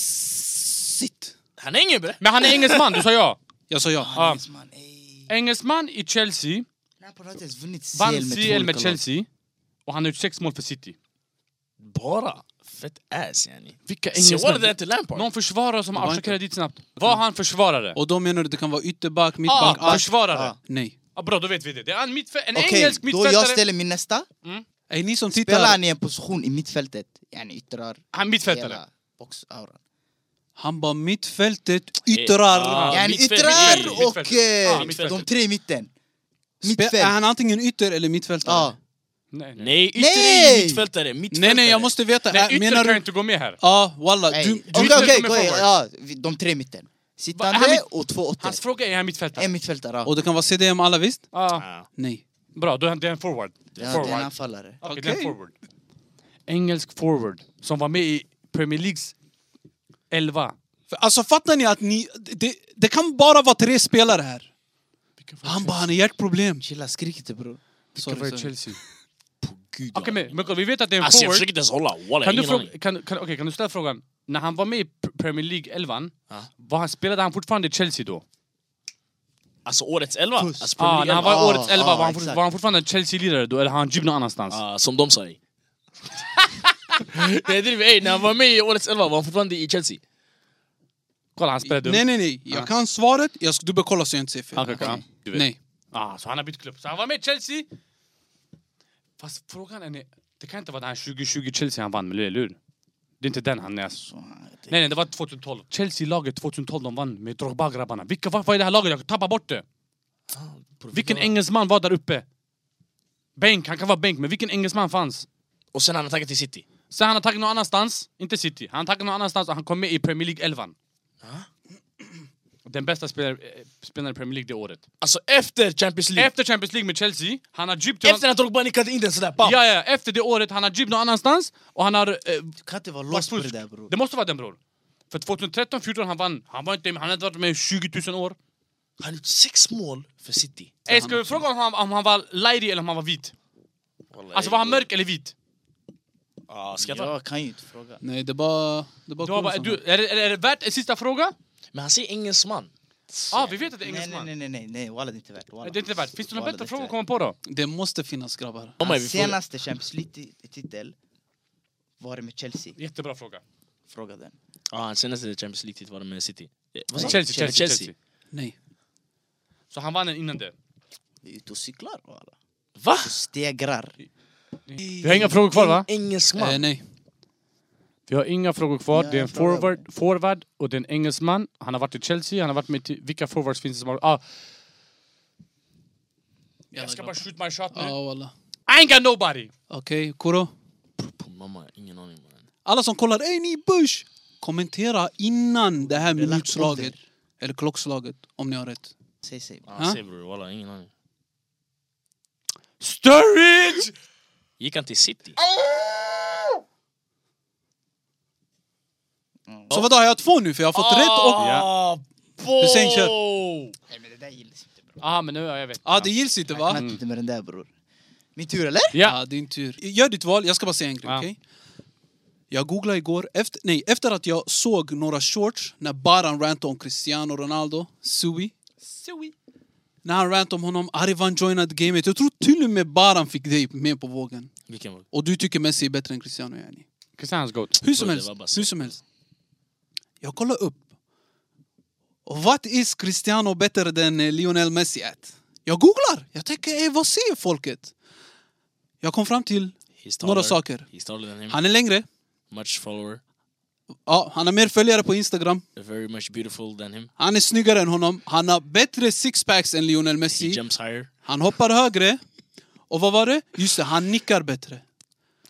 [SPEAKER 1] Sitt.
[SPEAKER 4] Han är ingen bre.
[SPEAKER 2] Men han är engelsman, du sa ja.
[SPEAKER 1] Jag sa ja.
[SPEAKER 2] Ja.
[SPEAKER 3] Man, ey.
[SPEAKER 2] Engelsman i Chelsea,
[SPEAKER 3] Lampard har inte ens vunnit CL
[SPEAKER 2] vann
[SPEAKER 3] med två
[SPEAKER 2] CL med
[SPEAKER 3] olika lag.
[SPEAKER 2] Chelsea. Och han har gjort sex mål för City.
[SPEAKER 4] Bara? Fett ass yani.
[SPEAKER 2] Vilka
[SPEAKER 4] Se
[SPEAKER 2] engelsmän?
[SPEAKER 4] what det är till Lampard.
[SPEAKER 2] Någon försvarare som
[SPEAKER 1] Det var
[SPEAKER 2] avslutar
[SPEAKER 1] inte-
[SPEAKER 2] kredit snabbt. Var han försvarare?
[SPEAKER 1] Och då menar du det kan vara ytterback,
[SPEAKER 2] Ja,
[SPEAKER 1] mittback,
[SPEAKER 2] ah,
[SPEAKER 1] back?
[SPEAKER 2] försvarare.
[SPEAKER 3] Ja.
[SPEAKER 1] Nej.
[SPEAKER 2] Ah, bra, då vet vi det. Det är en, mittfä- en
[SPEAKER 3] Okej,
[SPEAKER 2] engelsk
[SPEAKER 3] då jag
[SPEAKER 2] mittfältare.
[SPEAKER 3] ställer min nästa.
[SPEAKER 1] Ey ni som
[SPEAKER 3] Spelar
[SPEAKER 1] tittar.
[SPEAKER 3] han i en position i mittfältet? Yani yttrar
[SPEAKER 2] Han är mittfältare.
[SPEAKER 3] hela boxauran.
[SPEAKER 1] Han bara mittfältet,
[SPEAKER 2] Eh,
[SPEAKER 1] yttrar.
[SPEAKER 4] Ah,
[SPEAKER 3] Yani
[SPEAKER 4] mittfält-
[SPEAKER 3] yttrar
[SPEAKER 4] mittfält-
[SPEAKER 3] och
[SPEAKER 2] mittfältet.
[SPEAKER 3] eh,
[SPEAKER 2] Ah, mittfältet.
[SPEAKER 3] de tre i mitten.
[SPEAKER 1] Spe- Är
[SPEAKER 3] Mittfält. Ah.
[SPEAKER 1] han antingen ytter eller mittfältare?
[SPEAKER 3] Ja.
[SPEAKER 2] Nej, nej.
[SPEAKER 4] Nej, ytter
[SPEAKER 3] Nej!
[SPEAKER 4] är mittfältare.
[SPEAKER 1] Nej
[SPEAKER 4] mittfältare.
[SPEAKER 1] nej jag måste veta.
[SPEAKER 2] nej
[SPEAKER 1] Äh,
[SPEAKER 2] ytter
[SPEAKER 1] menar
[SPEAKER 2] kan
[SPEAKER 1] du?
[SPEAKER 2] ju inte gå med här.
[SPEAKER 1] Ja walla.
[SPEAKER 2] Äh,
[SPEAKER 3] Nej.
[SPEAKER 1] Du,
[SPEAKER 3] Okej,
[SPEAKER 1] du,
[SPEAKER 2] ytter
[SPEAKER 3] okej,
[SPEAKER 2] kommer
[SPEAKER 3] okej,
[SPEAKER 2] forward.
[SPEAKER 3] ja, vi- de tre i mitten.
[SPEAKER 2] Va, han
[SPEAKER 3] Sittande
[SPEAKER 2] mitt-
[SPEAKER 3] och två åttor.
[SPEAKER 2] Hans fråga är, är han mittfältare?
[SPEAKER 3] En mittfältare. ja.
[SPEAKER 1] och det kan vara CDM alla visst?
[SPEAKER 2] Ah,
[SPEAKER 4] Ah.
[SPEAKER 1] Nej.
[SPEAKER 2] bra, då är han- det är en forward.
[SPEAKER 3] Ja, det är en
[SPEAKER 2] forward.
[SPEAKER 3] anfallare.
[SPEAKER 2] Okej,
[SPEAKER 1] Okej.
[SPEAKER 2] det är en forward. Engelsk forward som var med i Premier Leagues 11.
[SPEAKER 1] För, alltså fattar ni att ni... Det, det kan bara vara tre spelare här. Han bara, han har hjärtproblem.
[SPEAKER 3] Chilla, skrik inte bror.
[SPEAKER 2] Vilka var
[SPEAKER 1] Sorry,
[SPEAKER 2] i
[SPEAKER 1] sorry.
[SPEAKER 2] Chelsea?
[SPEAKER 4] Gud,
[SPEAKER 2] Okej,
[SPEAKER 4] ja.
[SPEAKER 2] men, men vi vet att det är en
[SPEAKER 4] Alltså jag
[SPEAKER 2] forward.
[SPEAKER 4] försöker inte ens hålla, walla
[SPEAKER 2] Kan du,
[SPEAKER 4] ingen
[SPEAKER 2] fråga,
[SPEAKER 4] aning.
[SPEAKER 2] kan, kan, okej, kan du ställa frågan, när han var med i P- Premier League 11,
[SPEAKER 4] Ja.
[SPEAKER 2] var han, spelade han fortfarande i Chelsea då?
[SPEAKER 4] Alltså årets elva?
[SPEAKER 3] Puss.
[SPEAKER 4] Alltså, Premier
[SPEAKER 2] Ah, när
[SPEAKER 4] League
[SPEAKER 2] han var i
[SPEAKER 4] elva.
[SPEAKER 3] elva.
[SPEAKER 2] årets
[SPEAKER 3] Ah,
[SPEAKER 2] 11, var, han,
[SPEAKER 3] exakt.
[SPEAKER 2] fort- var han fortfarande en Chelsea-lirare då, eller har han gymt någon annanstans?
[SPEAKER 4] Ah, som de sa ey. Nej jag driver, ey när han var med i årets elva var han fortfarande i Chelsea.
[SPEAKER 2] Kolla, han spelade
[SPEAKER 1] Nej nej nej, jag kan svaret. Jag ska dubbelkolla så jag inte säger fel.
[SPEAKER 2] Okej, okej, ja. Du vet.
[SPEAKER 1] Nej.
[SPEAKER 2] Ah, så han har bytt klubb. Så han var med i Chelsea! Fast frågan är, det kan inte vara den här 2020 Chelsea han vann med, eller hur? Det är inte den han är...
[SPEAKER 3] Så, det-
[SPEAKER 2] Nej, nej, det var 2012. Chelsea-laget 2012 de vann med Drogba-grabbarna. Vilka var var i det här laget? Jag tappar bort det! Vilken engelsman var där uppe? Bänk, han kan vara bänk, men vilken engelsman fanns?
[SPEAKER 4] Och sen han har tagit till City.
[SPEAKER 2] Sen han har tagit någon annanstans, inte City, han har tagit någon annanstans och han kom med i Premier League 11. Den bästa spelaren eh, spelaren i Premier League det året.
[SPEAKER 4] Alltså efter Champions League.
[SPEAKER 2] Efter Champions League med Chelsea, han har djupt...
[SPEAKER 4] Efter när Drogba nickade in den sådär, pam!
[SPEAKER 2] Ja, ja, efter det året, han har djupt någon annanstans och han har... Eh,
[SPEAKER 3] Du kan inte vara
[SPEAKER 2] varit
[SPEAKER 3] lost på det
[SPEAKER 2] fusk.
[SPEAKER 3] där bror.
[SPEAKER 2] Det måste vara den bror. För 2013, 14 han vann. Han var inte, han hade inte varit med i 20 000 år.
[SPEAKER 4] Han har gjort sex mål för City.
[SPEAKER 2] Ey, Eh, ska vi fråga om han, om han var lajdig eller om han var vit? Alltså var han mörk eller vit?
[SPEAKER 4] Ah, skrattar.
[SPEAKER 3] Jag kan ju inte fråga.
[SPEAKER 1] Nej, det är bara... Det är bara
[SPEAKER 2] Du har bara,
[SPEAKER 1] Kronsan.
[SPEAKER 2] du, är, det, är det- är det värt en sista fråga?
[SPEAKER 4] Men han säger engelsman.
[SPEAKER 2] Ja, ah, vi vet att det är
[SPEAKER 3] Nej nej
[SPEAKER 2] engelsman.
[SPEAKER 3] nej nej, nej, nej walla det är inte värt. walla.
[SPEAKER 2] Det är inte värt. Finns det några
[SPEAKER 3] Walla,
[SPEAKER 2] bättre
[SPEAKER 3] inte
[SPEAKER 2] frågor att
[SPEAKER 3] värt.
[SPEAKER 2] komma på då?
[SPEAKER 1] Det måste finnas grabbar.
[SPEAKER 4] Oh,
[SPEAKER 3] Hans senaste Champions League-titel var det med Chelsea.
[SPEAKER 2] Jättebra fråga.
[SPEAKER 3] Fråga den.
[SPEAKER 4] Ja, ah, senaste Champions League-titeln var det med City. Eh, vad sa
[SPEAKER 2] Chelsea,
[SPEAKER 4] han?
[SPEAKER 2] Chelsea, Chelsea,
[SPEAKER 1] Nej.
[SPEAKER 2] Så han vann den innan det.
[SPEAKER 3] Vi är ute och cyklar walla.
[SPEAKER 4] Va?
[SPEAKER 3] Och stegrar.
[SPEAKER 2] Vi har inga frågor kvar va?
[SPEAKER 4] Engelsman.
[SPEAKER 1] Eh, nej.
[SPEAKER 2] Vi har inga frågor kvar.
[SPEAKER 3] Ja,
[SPEAKER 2] det är en
[SPEAKER 3] jag frågar.
[SPEAKER 2] forward, forward och det är en engelsman. Han har varit i Chelsea, han har varit med till... Vilka forwards finns det som har... Ah, jag ska bara shoot my shot nu.
[SPEAKER 1] Ja, walla.
[SPEAKER 2] I ain't got nobody!
[SPEAKER 1] Okej, Kuro.
[SPEAKER 2] Eh,
[SPEAKER 4] Puh, Mamma, ingen aning mannen.
[SPEAKER 1] Alla som kollar, ey ni Bush! Kommentera innan det här
[SPEAKER 3] Det är lagt
[SPEAKER 1] minutslaget.
[SPEAKER 3] under.
[SPEAKER 1] Eller klockslaget, om ni har rätt.
[SPEAKER 3] Säg säg.
[SPEAKER 4] Ah,
[SPEAKER 1] Ah.
[SPEAKER 4] Säg bror, walla ingen aning.
[SPEAKER 2] Sturridge!
[SPEAKER 4] Gick han till City?
[SPEAKER 1] Så vadå, har jag två nu? För jag har fått rätt och...
[SPEAKER 2] Ah, Ja.
[SPEAKER 4] Bo!
[SPEAKER 1] Hussein, kör.
[SPEAKER 3] Nej men det där gills inte bror.
[SPEAKER 2] Ah, men nu, ja, jag vet.
[SPEAKER 1] Ja, det gills inte va?
[SPEAKER 3] Jag kan inte med den där bror. Min tur eller?
[SPEAKER 1] Ja,
[SPEAKER 2] Ja.
[SPEAKER 1] din tur. Gör ditt val, jag ska bara säga en grej,
[SPEAKER 2] Ja.
[SPEAKER 1] okej? Jag googlade igår, efter, nej, efter att jag såg några shorts när Baran rantade om Cristiano Ronaldo, Sui.
[SPEAKER 3] Sui.
[SPEAKER 1] När han rantade om honom, Arivan joinade gamet. Jag tror till och med Baran fick dig med på vågen.
[SPEAKER 4] Vilken var det?
[SPEAKER 1] Och du tycker Messi är bättre än Cristiano, yani.
[SPEAKER 2] Cristianos goat.
[SPEAKER 1] Hur som
[SPEAKER 4] Det
[SPEAKER 1] helst,
[SPEAKER 4] var bara
[SPEAKER 1] hur
[SPEAKER 4] så.
[SPEAKER 1] som helst. Jag kollar upp. Vad is Cristiano bättre än eh, Lionel Messi at? Jag googlar! Jag tänker, eh, vad säger folket? Jag kom fram till
[SPEAKER 4] He's taller.
[SPEAKER 1] några saker.
[SPEAKER 4] He's taller than him.
[SPEAKER 1] Han är längre.
[SPEAKER 4] Much follower.
[SPEAKER 1] Ja, han har mer följare på Instagram.
[SPEAKER 4] Very much beautiful than him.
[SPEAKER 1] Han är snyggare än honom. Han har bättre sixpacks än Lionel
[SPEAKER 4] He
[SPEAKER 1] Messi.
[SPEAKER 4] jumps higher.
[SPEAKER 1] Han hoppar högre. Och vad var det? Just det, han nickar bättre.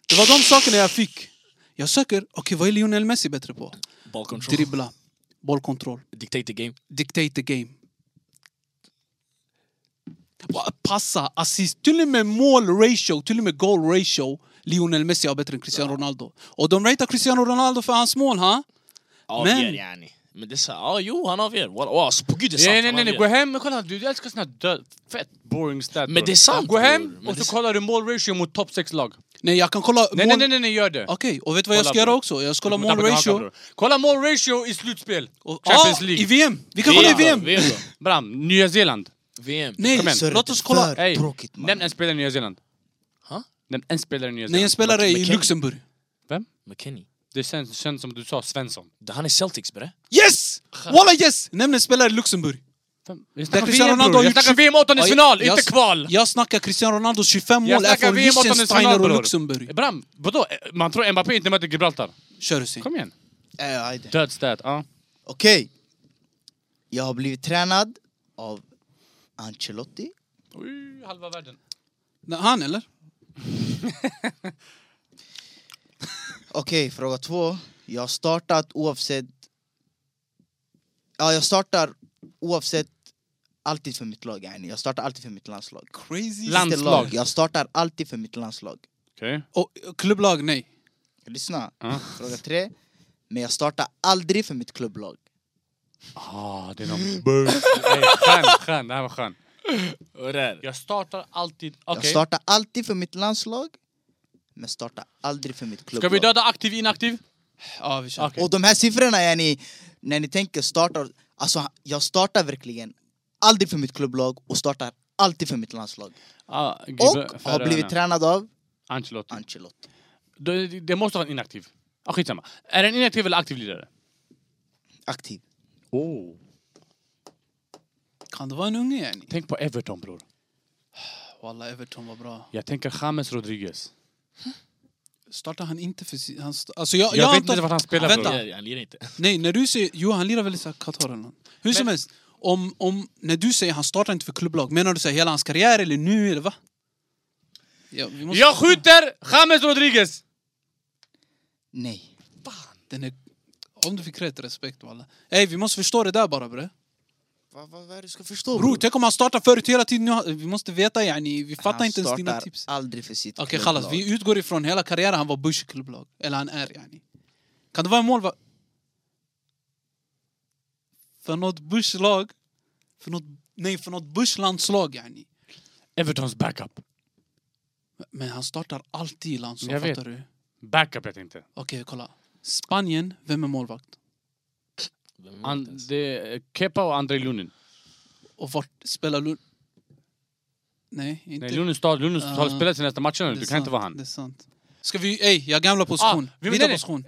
[SPEAKER 1] Det var de sakerna jag fick. Jag söker, okej vad är Lionel Messi bättre på?
[SPEAKER 4] Ball control.
[SPEAKER 1] Dribbla, bollkontroll,
[SPEAKER 4] Dictate the game.
[SPEAKER 1] dictate the game. Va- Passa, assist, till och med mål ratio, till och med goal ratio. Lionel Messi har bättre än Cristiano Ronaldo. Och de ratear Cristiano Ronaldo för hans mål, ha?
[SPEAKER 4] Avgör
[SPEAKER 1] Men-
[SPEAKER 4] yani. Men det är så här, ja jo han avgör. Walla, wow, alltså på gud det är sant.
[SPEAKER 2] Nej, nej,
[SPEAKER 4] han
[SPEAKER 2] nej, nej, gå
[SPEAKER 4] avgör.
[SPEAKER 2] hem och kolla. Du älskar såna död, fett boring stat.
[SPEAKER 4] Men
[SPEAKER 2] bror.
[SPEAKER 4] det är sant,
[SPEAKER 2] Gå hem
[SPEAKER 4] bror. Men
[SPEAKER 2] och
[SPEAKER 4] det är
[SPEAKER 2] så kollar du målratio mot topp 6-lag.
[SPEAKER 1] Nej, jag kan kolla
[SPEAKER 2] Nej,
[SPEAKER 1] mål-
[SPEAKER 2] nej, nej, nej, nej, gör det.
[SPEAKER 1] Okej, och vet du vad jag
[SPEAKER 2] Kolla,
[SPEAKER 1] ska göra
[SPEAKER 2] bror.
[SPEAKER 1] också? Jag ska
[SPEAKER 2] Du
[SPEAKER 1] kolla
[SPEAKER 2] kommer tappa din haka,
[SPEAKER 1] målratio.
[SPEAKER 2] bror. Kolla målratio i slutspel.
[SPEAKER 1] och-
[SPEAKER 2] Champions
[SPEAKER 1] Ah,
[SPEAKER 2] League.
[SPEAKER 1] I VM! Vi kan kolla i VM!
[SPEAKER 4] VM då.
[SPEAKER 2] Bram, Nya Zeeland.
[SPEAKER 4] VM.
[SPEAKER 1] Nej,
[SPEAKER 2] Kom igen.
[SPEAKER 1] låt oss kolla.
[SPEAKER 2] Hey,
[SPEAKER 3] Tråkigt man.
[SPEAKER 2] nämn en spelare i Nya Zeeland.
[SPEAKER 4] Ha?
[SPEAKER 2] Nämn en spelare i Nya
[SPEAKER 1] Nej, en
[SPEAKER 2] Zeeland.
[SPEAKER 1] spelare i
[SPEAKER 4] McKennie.
[SPEAKER 1] Luxemburg.
[SPEAKER 2] Vem?
[SPEAKER 4] McKennie.
[SPEAKER 2] Det känns, känns som att du sa Svensson.
[SPEAKER 4] Det- Han är Celtics bre.
[SPEAKER 1] Yes! Walla yes! Nämn en spelare i Luxemburg.
[SPEAKER 2] Vem? Jag
[SPEAKER 1] Där
[SPEAKER 2] snackar
[SPEAKER 1] Cristiano
[SPEAKER 2] VM,
[SPEAKER 1] Ronaldo har
[SPEAKER 2] bror. Jag
[SPEAKER 1] gjort
[SPEAKER 2] snackar
[SPEAKER 1] tjugo-
[SPEAKER 2] VM
[SPEAKER 1] Ja,
[SPEAKER 2] åttondelsfinal,
[SPEAKER 1] jag-
[SPEAKER 2] inte kval!
[SPEAKER 1] Jag snackar Cristiano Ronaldo 25
[SPEAKER 2] Jag
[SPEAKER 1] mål är
[SPEAKER 2] snackar
[SPEAKER 1] från
[SPEAKER 2] VM åttondelsfinal,
[SPEAKER 1] Liechtenstein och
[SPEAKER 2] bror.
[SPEAKER 1] Luxemburg.
[SPEAKER 2] Bram, vadå? Man tror Mbappé inte möter Gibraltar.
[SPEAKER 1] Kör Hussein.
[SPEAKER 2] Kom igen.
[SPEAKER 3] Eh, ajde.
[SPEAKER 2] Död stat, ja.
[SPEAKER 3] Okej. Jag har blivit tränad av Ancelotti.
[SPEAKER 2] Oj, Halva världen.
[SPEAKER 1] Nej, Han eller?
[SPEAKER 3] Okej, fråga två. Jag har startat oavsett... Ja, jag startar oavsett alltid för mitt lag. Yani. Jag startar alltid för mitt landslag.
[SPEAKER 1] Crazy.
[SPEAKER 2] Land-
[SPEAKER 3] Inte
[SPEAKER 2] Landslag.
[SPEAKER 3] lag. Jag startar alltid för mitt landslag.
[SPEAKER 2] Okej.
[SPEAKER 1] Och eh, klubblag, nej.
[SPEAKER 3] Lyssna.
[SPEAKER 2] Ja.
[SPEAKER 3] Fråga tre. Men jag startar aldrig för mitt klubblag.
[SPEAKER 2] Ah, det är någon... Burr. Ey, Skön, skön. Det här var skön.
[SPEAKER 4] Vad är det?
[SPEAKER 2] Jag startar alltid...
[SPEAKER 3] Jag
[SPEAKER 2] Okej.
[SPEAKER 3] startar alltid för mitt landslag. Men startar aldrig för mitt
[SPEAKER 2] Ska
[SPEAKER 3] klubblag.
[SPEAKER 2] vi döda aktiv, inaktiv?
[SPEAKER 1] Ja, vi kör.
[SPEAKER 2] Okej.
[SPEAKER 3] Och de här siffrorna, är ni, när ni tänker startar... Alltså, jag startar verkligen aldrig för mitt klubblag och startar alltid för mitt landslag.
[SPEAKER 2] Ah, gud,
[SPEAKER 3] Och har
[SPEAKER 2] Färöarna.
[SPEAKER 3] blivit tränad av
[SPEAKER 2] Ancelotti.
[SPEAKER 3] Ancelotti.
[SPEAKER 2] Det, det- det måste vara en inaktiv. Ah, skitsamma. Är det en inaktiv eller aktiv lirare?
[SPEAKER 3] Aktiv.
[SPEAKER 2] Oh.
[SPEAKER 1] Kan det vara en unge, yani?
[SPEAKER 2] Tänk på Everton, bror.
[SPEAKER 1] Walla, Everton var bra.
[SPEAKER 2] Jag tänker James Rodriguez.
[SPEAKER 1] Startar han inte för... si- Han sta- alltså, jag,
[SPEAKER 2] Jag,
[SPEAKER 1] jag
[SPEAKER 2] vet
[SPEAKER 1] antar-
[SPEAKER 2] inte vart han spelar,
[SPEAKER 1] Vänta.
[SPEAKER 2] bror.
[SPEAKER 4] Han lirar- Han lirar inte.
[SPEAKER 1] Nej, när du säger... Jo, han lirar väl i så här Qatar eller något. Hur som
[SPEAKER 2] Men-
[SPEAKER 1] helst, om, om, när du säger han startar inte för klubblag, menar du så här hela hans karriär eller nu eller va? Ja, vi måste-
[SPEAKER 2] Jag skjuter James Rodriguez!
[SPEAKER 3] Nej.
[SPEAKER 1] Den är... Om du fick rätt, respekt walla. Ey, vi måste förstå det där bara bre.
[SPEAKER 3] Vad va, va är det du ska förstå?
[SPEAKER 1] Bror, tänk om han startar förut hela tiden. Nu, har- vi måste veta yani, vi fattar
[SPEAKER 3] han
[SPEAKER 1] inte ens dina
[SPEAKER 3] startar
[SPEAKER 1] tips.
[SPEAKER 3] aldrig för sitt
[SPEAKER 1] Okej,
[SPEAKER 3] klubblag.
[SPEAKER 1] Khalas, vi utgår ifrån hela karriären han var Bush i klubblag. Eller han är yani. Kan det vara en målvakt? För något Bush-lag? För något, nej, för något Bush-landslag yani.
[SPEAKER 2] Evertons backup.
[SPEAKER 1] Men han startar alltid i landslag,
[SPEAKER 2] Jag vet.
[SPEAKER 1] fattar du?
[SPEAKER 2] Backup jag tänkte.
[SPEAKER 1] Okej, kolla. Spanien, vem är målvakt?
[SPEAKER 4] Vem vet
[SPEAKER 2] An,
[SPEAKER 4] ens?
[SPEAKER 2] det är Kepa och André Lunin.
[SPEAKER 1] Och vart spelar Lund... Nej, inte...
[SPEAKER 2] Nej, Lunin star- Lunin
[SPEAKER 1] Ah.
[SPEAKER 2] har spelat sin nästa match nu.
[SPEAKER 1] Det är
[SPEAKER 2] Det kan
[SPEAKER 1] sant,
[SPEAKER 2] inte vara han.
[SPEAKER 1] Det är sant. Ska vi... Ey, jag har gamla position.
[SPEAKER 2] Ah, vi-
[SPEAKER 1] Byta
[SPEAKER 2] nej, nej.
[SPEAKER 1] position.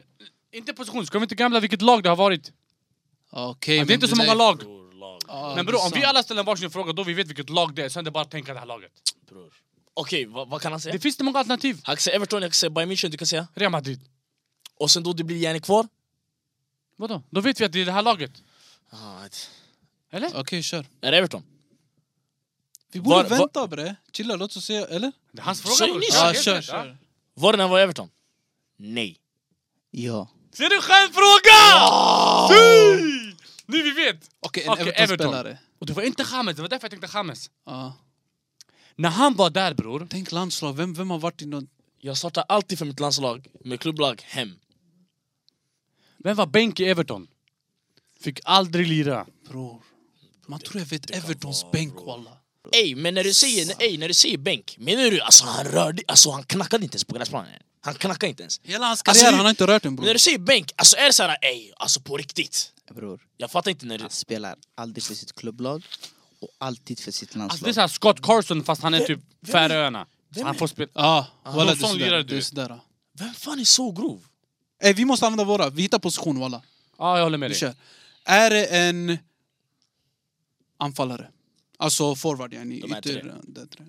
[SPEAKER 2] Inte position. Ska vi inte gamla vilket lag det har varit?
[SPEAKER 1] Okej,
[SPEAKER 2] Det Ah, är
[SPEAKER 1] men
[SPEAKER 2] inte så
[SPEAKER 1] där-
[SPEAKER 2] många lag.
[SPEAKER 4] Bror, lag.
[SPEAKER 1] Ja,
[SPEAKER 2] Men
[SPEAKER 1] det
[SPEAKER 2] bror,
[SPEAKER 1] är
[SPEAKER 2] om vi
[SPEAKER 1] sant.
[SPEAKER 2] alla ställer varsin fråga då vi vet vilket lag det är. Sen är det bara att tänka det här laget.
[SPEAKER 4] Bror. Okej, vad, vad kan han
[SPEAKER 2] Det
[SPEAKER 4] säga?
[SPEAKER 2] finns inte många alternativ.
[SPEAKER 4] Han kan säga Everton, jag kan säga Bayern München, du kan säga.
[SPEAKER 2] Real Madrid.
[SPEAKER 4] Och sen då det blir yani kvar?
[SPEAKER 2] Vadå? Då vet vi att det är det här laget.
[SPEAKER 4] Ah, ett-
[SPEAKER 2] Eller?
[SPEAKER 1] Okej, kör.
[SPEAKER 4] Är det Everton?
[SPEAKER 1] Vi borde
[SPEAKER 4] Var- var-
[SPEAKER 1] vänta bre. Chilla, låt oss se. Eller?
[SPEAKER 2] Det är hans fråga.
[SPEAKER 4] Säg
[SPEAKER 2] bror.
[SPEAKER 4] ni
[SPEAKER 2] Ja,
[SPEAKER 4] så.
[SPEAKER 1] Ja,
[SPEAKER 2] helt
[SPEAKER 1] kör,
[SPEAKER 2] rätt,
[SPEAKER 1] kör.
[SPEAKER 4] Var det när han var i Everton? Nej.
[SPEAKER 3] Ja.
[SPEAKER 2] Ser du skämtfråga? Fy! Nu vi vet!
[SPEAKER 1] Okej, en
[SPEAKER 2] Okej,
[SPEAKER 1] Everton-spelare.
[SPEAKER 2] Och det var inte James, det var därför jag tänkte James.
[SPEAKER 1] Ja.
[SPEAKER 2] När han var där bror,
[SPEAKER 1] Tänk landslag, vem, vem har varit i någon...
[SPEAKER 4] Jag startar alltid för mitt landslag, med klubblag, hem.
[SPEAKER 2] Vem var bänk i Everton? Fick aldrig lira.
[SPEAKER 1] Bror. Man tror jag vet
[SPEAKER 4] kan
[SPEAKER 1] Evertons
[SPEAKER 4] vara,
[SPEAKER 1] bänk
[SPEAKER 4] bror.
[SPEAKER 1] walla.
[SPEAKER 4] Ey, men när du säger, ey, när du säger bänk, menar du alltså han rörde, alltså han knackade inte ens på gräsplanen? Han knackade inte ens.
[SPEAKER 1] Hela hans
[SPEAKER 4] Alltså,
[SPEAKER 1] karriär,
[SPEAKER 4] vi-
[SPEAKER 1] han har inte rört den
[SPEAKER 4] Men när
[SPEAKER 1] bror.
[SPEAKER 4] du säger bänk, alltså är det såhär, ey, alltså på riktigt?
[SPEAKER 3] Bror,
[SPEAKER 4] Jag fattar inte när du...
[SPEAKER 3] han spelar aldrig för sitt klubblag och alltid för sitt
[SPEAKER 2] Alltså det är
[SPEAKER 3] landslag.
[SPEAKER 2] såhär Scott Carson fast han är typ Färöarna. Så han får spela...
[SPEAKER 1] Ja, walla
[SPEAKER 2] någon
[SPEAKER 1] det är
[SPEAKER 2] sån lirare
[SPEAKER 1] sådär.
[SPEAKER 2] du
[SPEAKER 1] Det är
[SPEAKER 2] vet.
[SPEAKER 1] sådär.
[SPEAKER 4] Vem fan är så grov?
[SPEAKER 1] Ey, vi måste använda våra. Vi hittar position walla.
[SPEAKER 2] Ja, jag håller med
[SPEAKER 1] Vi
[SPEAKER 2] dig.
[SPEAKER 1] kör. Är det en anfallare? Alltså forward yani.
[SPEAKER 4] De här tre.
[SPEAKER 1] Ytter... det tre.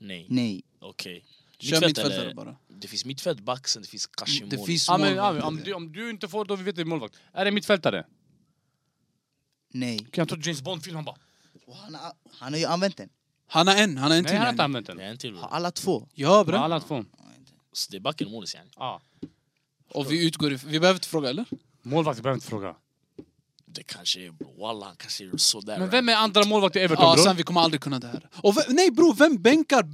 [SPEAKER 4] Nej,
[SPEAKER 3] Nej.
[SPEAKER 4] okej.
[SPEAKER 1] Kör mittfältare bara.
[SPEAKER 4] Det finns mittfält, back, sen det finns Kashim.
[SPEAKER 1] Det finns
[SPEAKER 2] Ja, men, ja, men
[SPEAKER 1] målvakter.
[SPEAKER 2] om, du, om du inte får då vi vet det är målvakt. Är det mittfältare?
[SPEAKER 3] Nej.
[SPEAKER 2] Kan jag ta James Bond-film? Han bara...
[SPEAKER 3] Och han, har- han har ju använt den.
[SPEAKER 1] Han har en, han har en
[SPEAKER 2] Nej,
[SPEAKER 1] till.
[SPEAKER 2] han har inte
[SPEAKER 1] yani.
[SPEAKER 2] använt den.
[SPEAKER 4] Det är en till.
[SPEAKER 3] Har alla två.
[SPEAKER 1] Ja
[SPEAKER 2] Ja,
[SPEAKER 1] bra.
[SPEAKER 2] Alla två.
[SPEAKER 4] Så det är backen och målis yani.
[SPEAKER 2] Ja.
[SPEAKER 1] Och vi utgår if- Vi behöver inte fråga eller?
[SPEAKER 2] Målvakt behöver inte fråga.
[SPEAKER 4] Det kanske är bro, wallah han kanske är sådär.
[SPEAKER 2] Men vem är andra målvakt i Everton
[SPEAKER 1] Ja,
[SPEAKER 2] bror?
[SPEAKER 1] sen vi kommer aldrig kunna det här. Och ve- nej bror, vem bänkar eh,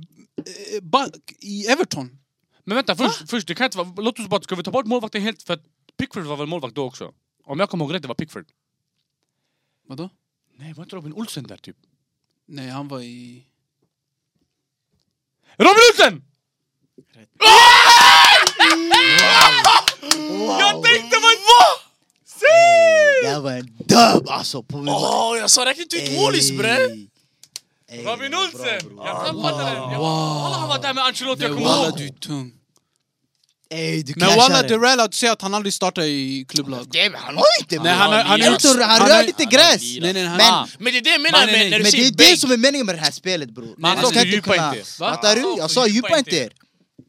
[SPEAKER 1] back i Everton?
[SPEAKER 2] Men vänta, först, först det kan inte vara... Låt oss bara... Ska vi ta bort målvakten helt? För att Pickford var väl målvakt då också? Om jag kommer ihåg rätt, det var Pickford.
[SPEAKER 1] Vadå?
[SPEAKER 2] Nej, var inte Robin Olsen där typ?
[SPEAKER 1] Nej, han var i...
[SPEAKER 2] Robin Olsen!
[SPEAKER 3] Wow!
[SPEAKER 2] Tänkte man... Vad?
[SPEAKER 3] Det här var en dubb alltså! På min
[SPEAKER 4] Åh, jag sa räkna inte ut målis bre!
[SPEAKER 3] Ey. Ey,
[SPEAKER 2] Robin
[SPEAKER 3] bra,
[SPEAKER 2] Olsen!
[SPEAKER 3] bra.
[SPEAKER 2] Jag tappade den! Jag- Alla han var där med Ancelotti,
[SPEAKER 1] Nej,
[SPEAKER 2] jag kommer
[SPEAKER 1] walla
[SPEAKER 2] ihåg!
[SPEAKER 1] du är tung.
[SPEAKER 3] Ey, du
[SPEAKER 1] Men walla
[SPEAKER 3] clashar den.
[SPEAKER 1] Derell, att du säger att han aldrig startar i klubblag.
[SPEAKER 3] Nej, men han har inte!
[SPEAKER 1] Nej, han har- han
[SPEAKER 3] är
[SPEAKER 1] har-
[SPEAKER 3] inte han,
[SPEAKER 1] han har-
[SPEAKER 3] rör inte
[SPEAKER 4] han har
[SPEAKER 3] gräs!
[SPEAKER 4] lirat.
[SPEAKER 1] Nej, nej, han...
[SPEAKER 3] Men-
[SPEAKER 1] Ah.
[SPEAKER 4] Men det är det jag menar
[SPEAKER 1] Nej, nej,
[SPEAKER 4] med
[SPEAKER 1] nej.
[SPEAKER 4] när du
[SPEAKER 3] Men det
[SPEAKER 4] säger
[SPEAKER 3] är det
[SPEAKER 4] bänk!
[SPEAKER 3] som är meningen med det här spelet bror.
[SPEAKER 1] Man
[SPEAKER 3] Man
[SPEAKER 1] sa
[SPEAKER 3] ska
[SPEAKER 2] du
[SPEAKER 3] inte
[SPEAKER 2] djupa
[SPEAKER 3] kunna...
[SPEAKER 2] inte. Va?
[SPEAKER 3] Fattar
[SPEAKER 2] Ja,
[SPEAKER 3] du? Jag
[SPEAKER 2] du
[SPEAKER 3] sa
[SPEAKER 2] djupa
[SPEAKER 3] djupa
[SPEAKER 2] inte.
[SPEAKER 3] inte er.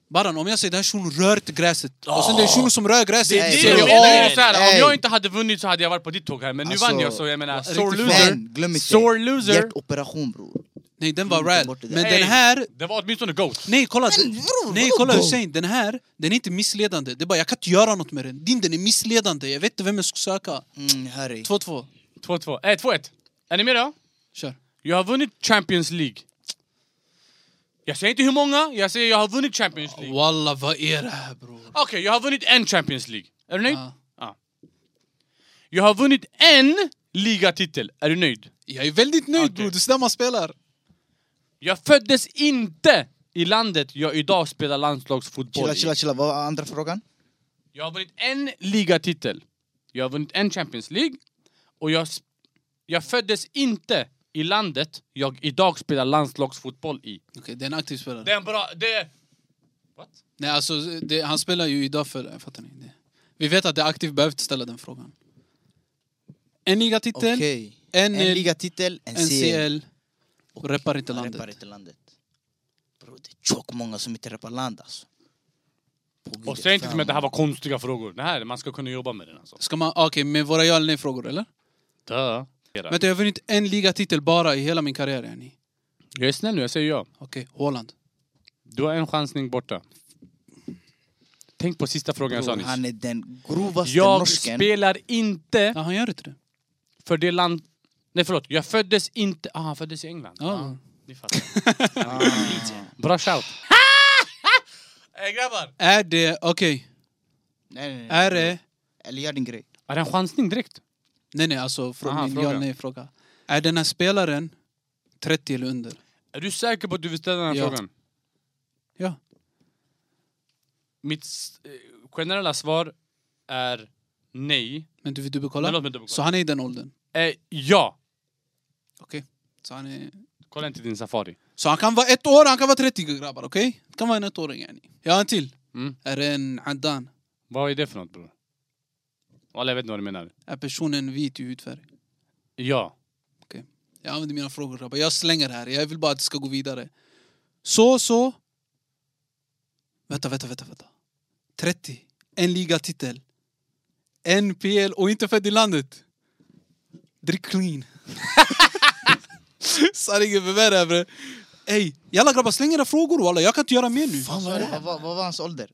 [SPEAKER 1] Baran, om jag säger det här shunon rör inte gräset. Och sen
[SPEAKER 4] Ah.
[SPEAKER 1] det är shunon som rör gräset.
[SPEAKER 4] Det
[SPEAKER 1] i
[SPEAKER 4] är det
[SPEAKER 1] Serie
[SPEAKER 4] jag
[SPEAKER 1] A.
[SPEAKER 2] Det är ju
[SPEAKER 4] Nej,
[SPEAKER 2] så här, Om
[SPEAKER 3] nej.
[SPEAKER 2] jag inte hade vunnit så hade jag varit på ditt tåg här, men nu
[SPEAKER 3] Alltså,
[SPEAKER 2] vann jag så jag menar,
[SPEAKER 1] riktigt
[SPEAKER 2] sore
[SPEAKER 3] Men
[SPEAKER 2] loser.
[SPEAKER 3] glöm inte.
[SPEAKER 2] Sore loser.
[SPEAKER 3] Hjärtoperation bror.
[SPEAKER 1] Nej, den var
[SPEAKER 3] Mm, ta
[SPEAKER 1] rad.
[SPEAKER 3] bort det där.
[SPEAKER 1] Men
[SPEAKER 2] Ey,
[SPEAKER 1] den här...
[SPEAKER 2] Det var åtminstone GOAT.
[SPEAKER 1] Nej, kolla.
[SPEAKER 3] Men bror,
[SPEAKER 1] nej,
[SPEAKER 3] vadå
[SPEAKER 1] kolla
[SPEAKER 3] då?
[SPEAKER 1] Hussein. Den här, den är inte missledande. Det är bara, jag kan inte göra något med den. Din, den är missledande. Jag vet inte vem jag ska söka.
[SPEAKER 3] Mm, hörru.
[SPEAKER 1] 2-2.
[SPEAKER 2] 2-2. Eh, 2-1. Är ni med då?
[SPEAKER 1] Kör.
[SPEAKER 2] Jag har vunnit Champions League. Jag säger inte hur många, jag säger jag har vunnit Champions League.
[SPEAKER 1] Walla, vad är det här bror?
[SPEAKER 2] Okej, jag har vunnit en Champions League. Är du nöjd?
[SPEAKER 1] Ja.
[SPEAKER 2] Ja. Jag har vunnit en ligatitel. Är du nöjd?
[SPEAKER 1] Jag är väldigt nöjd
[SPEAKER 2] Okej.
[SPEAKER 1] bror, det är sådär man spelar.
[SPEAKER 2] Jag föddes inte i landet jag idag spelar landslagsfotboll
[SPEAKER 3] Chilla,
[SPEAKER 2] i.
[SPEAKER 3] chilla, chilla. Vad var andra frågan?
[SPEAKER 2] Jag har vunnit en ligatitel. Jag har vunnit en Champions League. Och jag, s- jag föddes inte i landet jag idag spelar landslagsfotboll i.
[SPEAKER 1] Okej, det är en aktiv spelare.
[SPEAKER 2] Det är en bra... Det... What?
[SPEAKER 1] Nej, alltså, det, han spelar ju idag för... Jag fattar ni? Det. Vi vet att det är aktivt, behöver inte ställa den frågan. En ligatitel,
[SPEAKER 3] Okej.
[SPEAKER 1] en,
[SPEAKER 3] En ligatitel, en
[SPEAKER 1] en
[SPEAKER 3] CL.
[SPEAKER 1] CL. Och reppar inte
[SPEAKER 3] Han
[SPEAKER 1] landet.
[SPEAKER 3] reppar inte landet. Bror, det är tjockt många som inte reppar land alltså. På Gud,
[SPEAKER 2] Och säg inte
[SPEAKER 3] fan,
[SPEAKER 2] till mig att det här var konstiga frågor. Det här, man ska kunna jobba med den alltså.
[SPEAKER 1] Ska man... ah, Okej, med våra ja eller nej-frågor, eller?
[SPEAKER 2] Duh.
[SPEAKER 1] Vänta, jag har vunnit en ligatitel bara i hela min karriär, yani.
[SPEAKER 2] Jag är snäll nu, jag säger ja.
[SPEAKER 1] Okej, Haaland.
[SPEAKER 2] Du har en chansning borta. Tänk på sista frågan jag sa
[SPEAKER 3] bror,
[SPEAKER 2] nyss.
[SPEAKER 3] Han är den grovaste
[SPEAKER 2] Jag
[SPEAKER 3] norsken.
[SPEAKER 2] spelar inte
[SPEAKER 1] Ja, han gör inte det.
[SPEAKER 2] för det land... Nej förlåt, jag föddes inte... Ah, han föddes i England.
[SPEAKER 1] Ja. Ah.
[SPEAKER 2] ni fattar. Bra shout. Hey, grabbar!
[SPEAKER 1] Är det... Okej.
[SPEAKER 3] Nej, nej, nej.
[SPEAKER 1] Är det...
[SPEAKER 3] Eller gör din grej.
[SPEAKER 2] Är det en chansning direkt?
[SPEAKER 1] Nej, nej, alltså från
[SPEAKER 2] Aha,
[SPEAKER 1] min ja
[SPEAKER 2] fråga.
[SPEAKER 1] eller nej-fråga. Är den här spelaren 30 eller under?
[SPEAKER 2] Är du säker på att du vill ställa den här
[SPEAKER 1] Ja.
[SPEAKER 2] frågan?
[SPEAKER 1] Ja.
[SPEAKER 2] Mitt s- eh, generella svar är nej.
[SPEAKER 1] Men du vill dubbelkolla?
[SPEAKER 2] Men låt mig dubbelkolla.
[SPEAKER 1] Så han är i den åldern?
[SPEAKER 2] Eh, ja!
[SPEAKER 1] Okej. Så han är...
[SPEAKER 2] Kolla inte din safari.
[SPEAKER 1] Så han kan vara ett år, han kan vara 30 grabbar, okej? Det kan vara en ettåring yani. Jag har en till.
[SPEAKER 2] Mm.
[SPEAKER 1] Är det en Adan?
[SPEAKER 2] Vad är det för något bror? Alla jag vet inte vad du menar.
[SPEAKER 1] Är personen vit i hudfärg?
[SPEAKER 2] Ja.
[SPEAKER 1] Jag använder mina frågor grabbar, jag slänger här. Jag vill bara att det ska gå vidare. Så, så. Vänta, vänta, vänta, vänta. 30. En ligatitel. En PL och inte född i landet. Drick clean. Sanningen bevär bre. Ey, jalla grabbar släng era frågor walla, jag kan inte göra mer nu.
[SPEAKER 3] Vad vad- vad var hans ålder?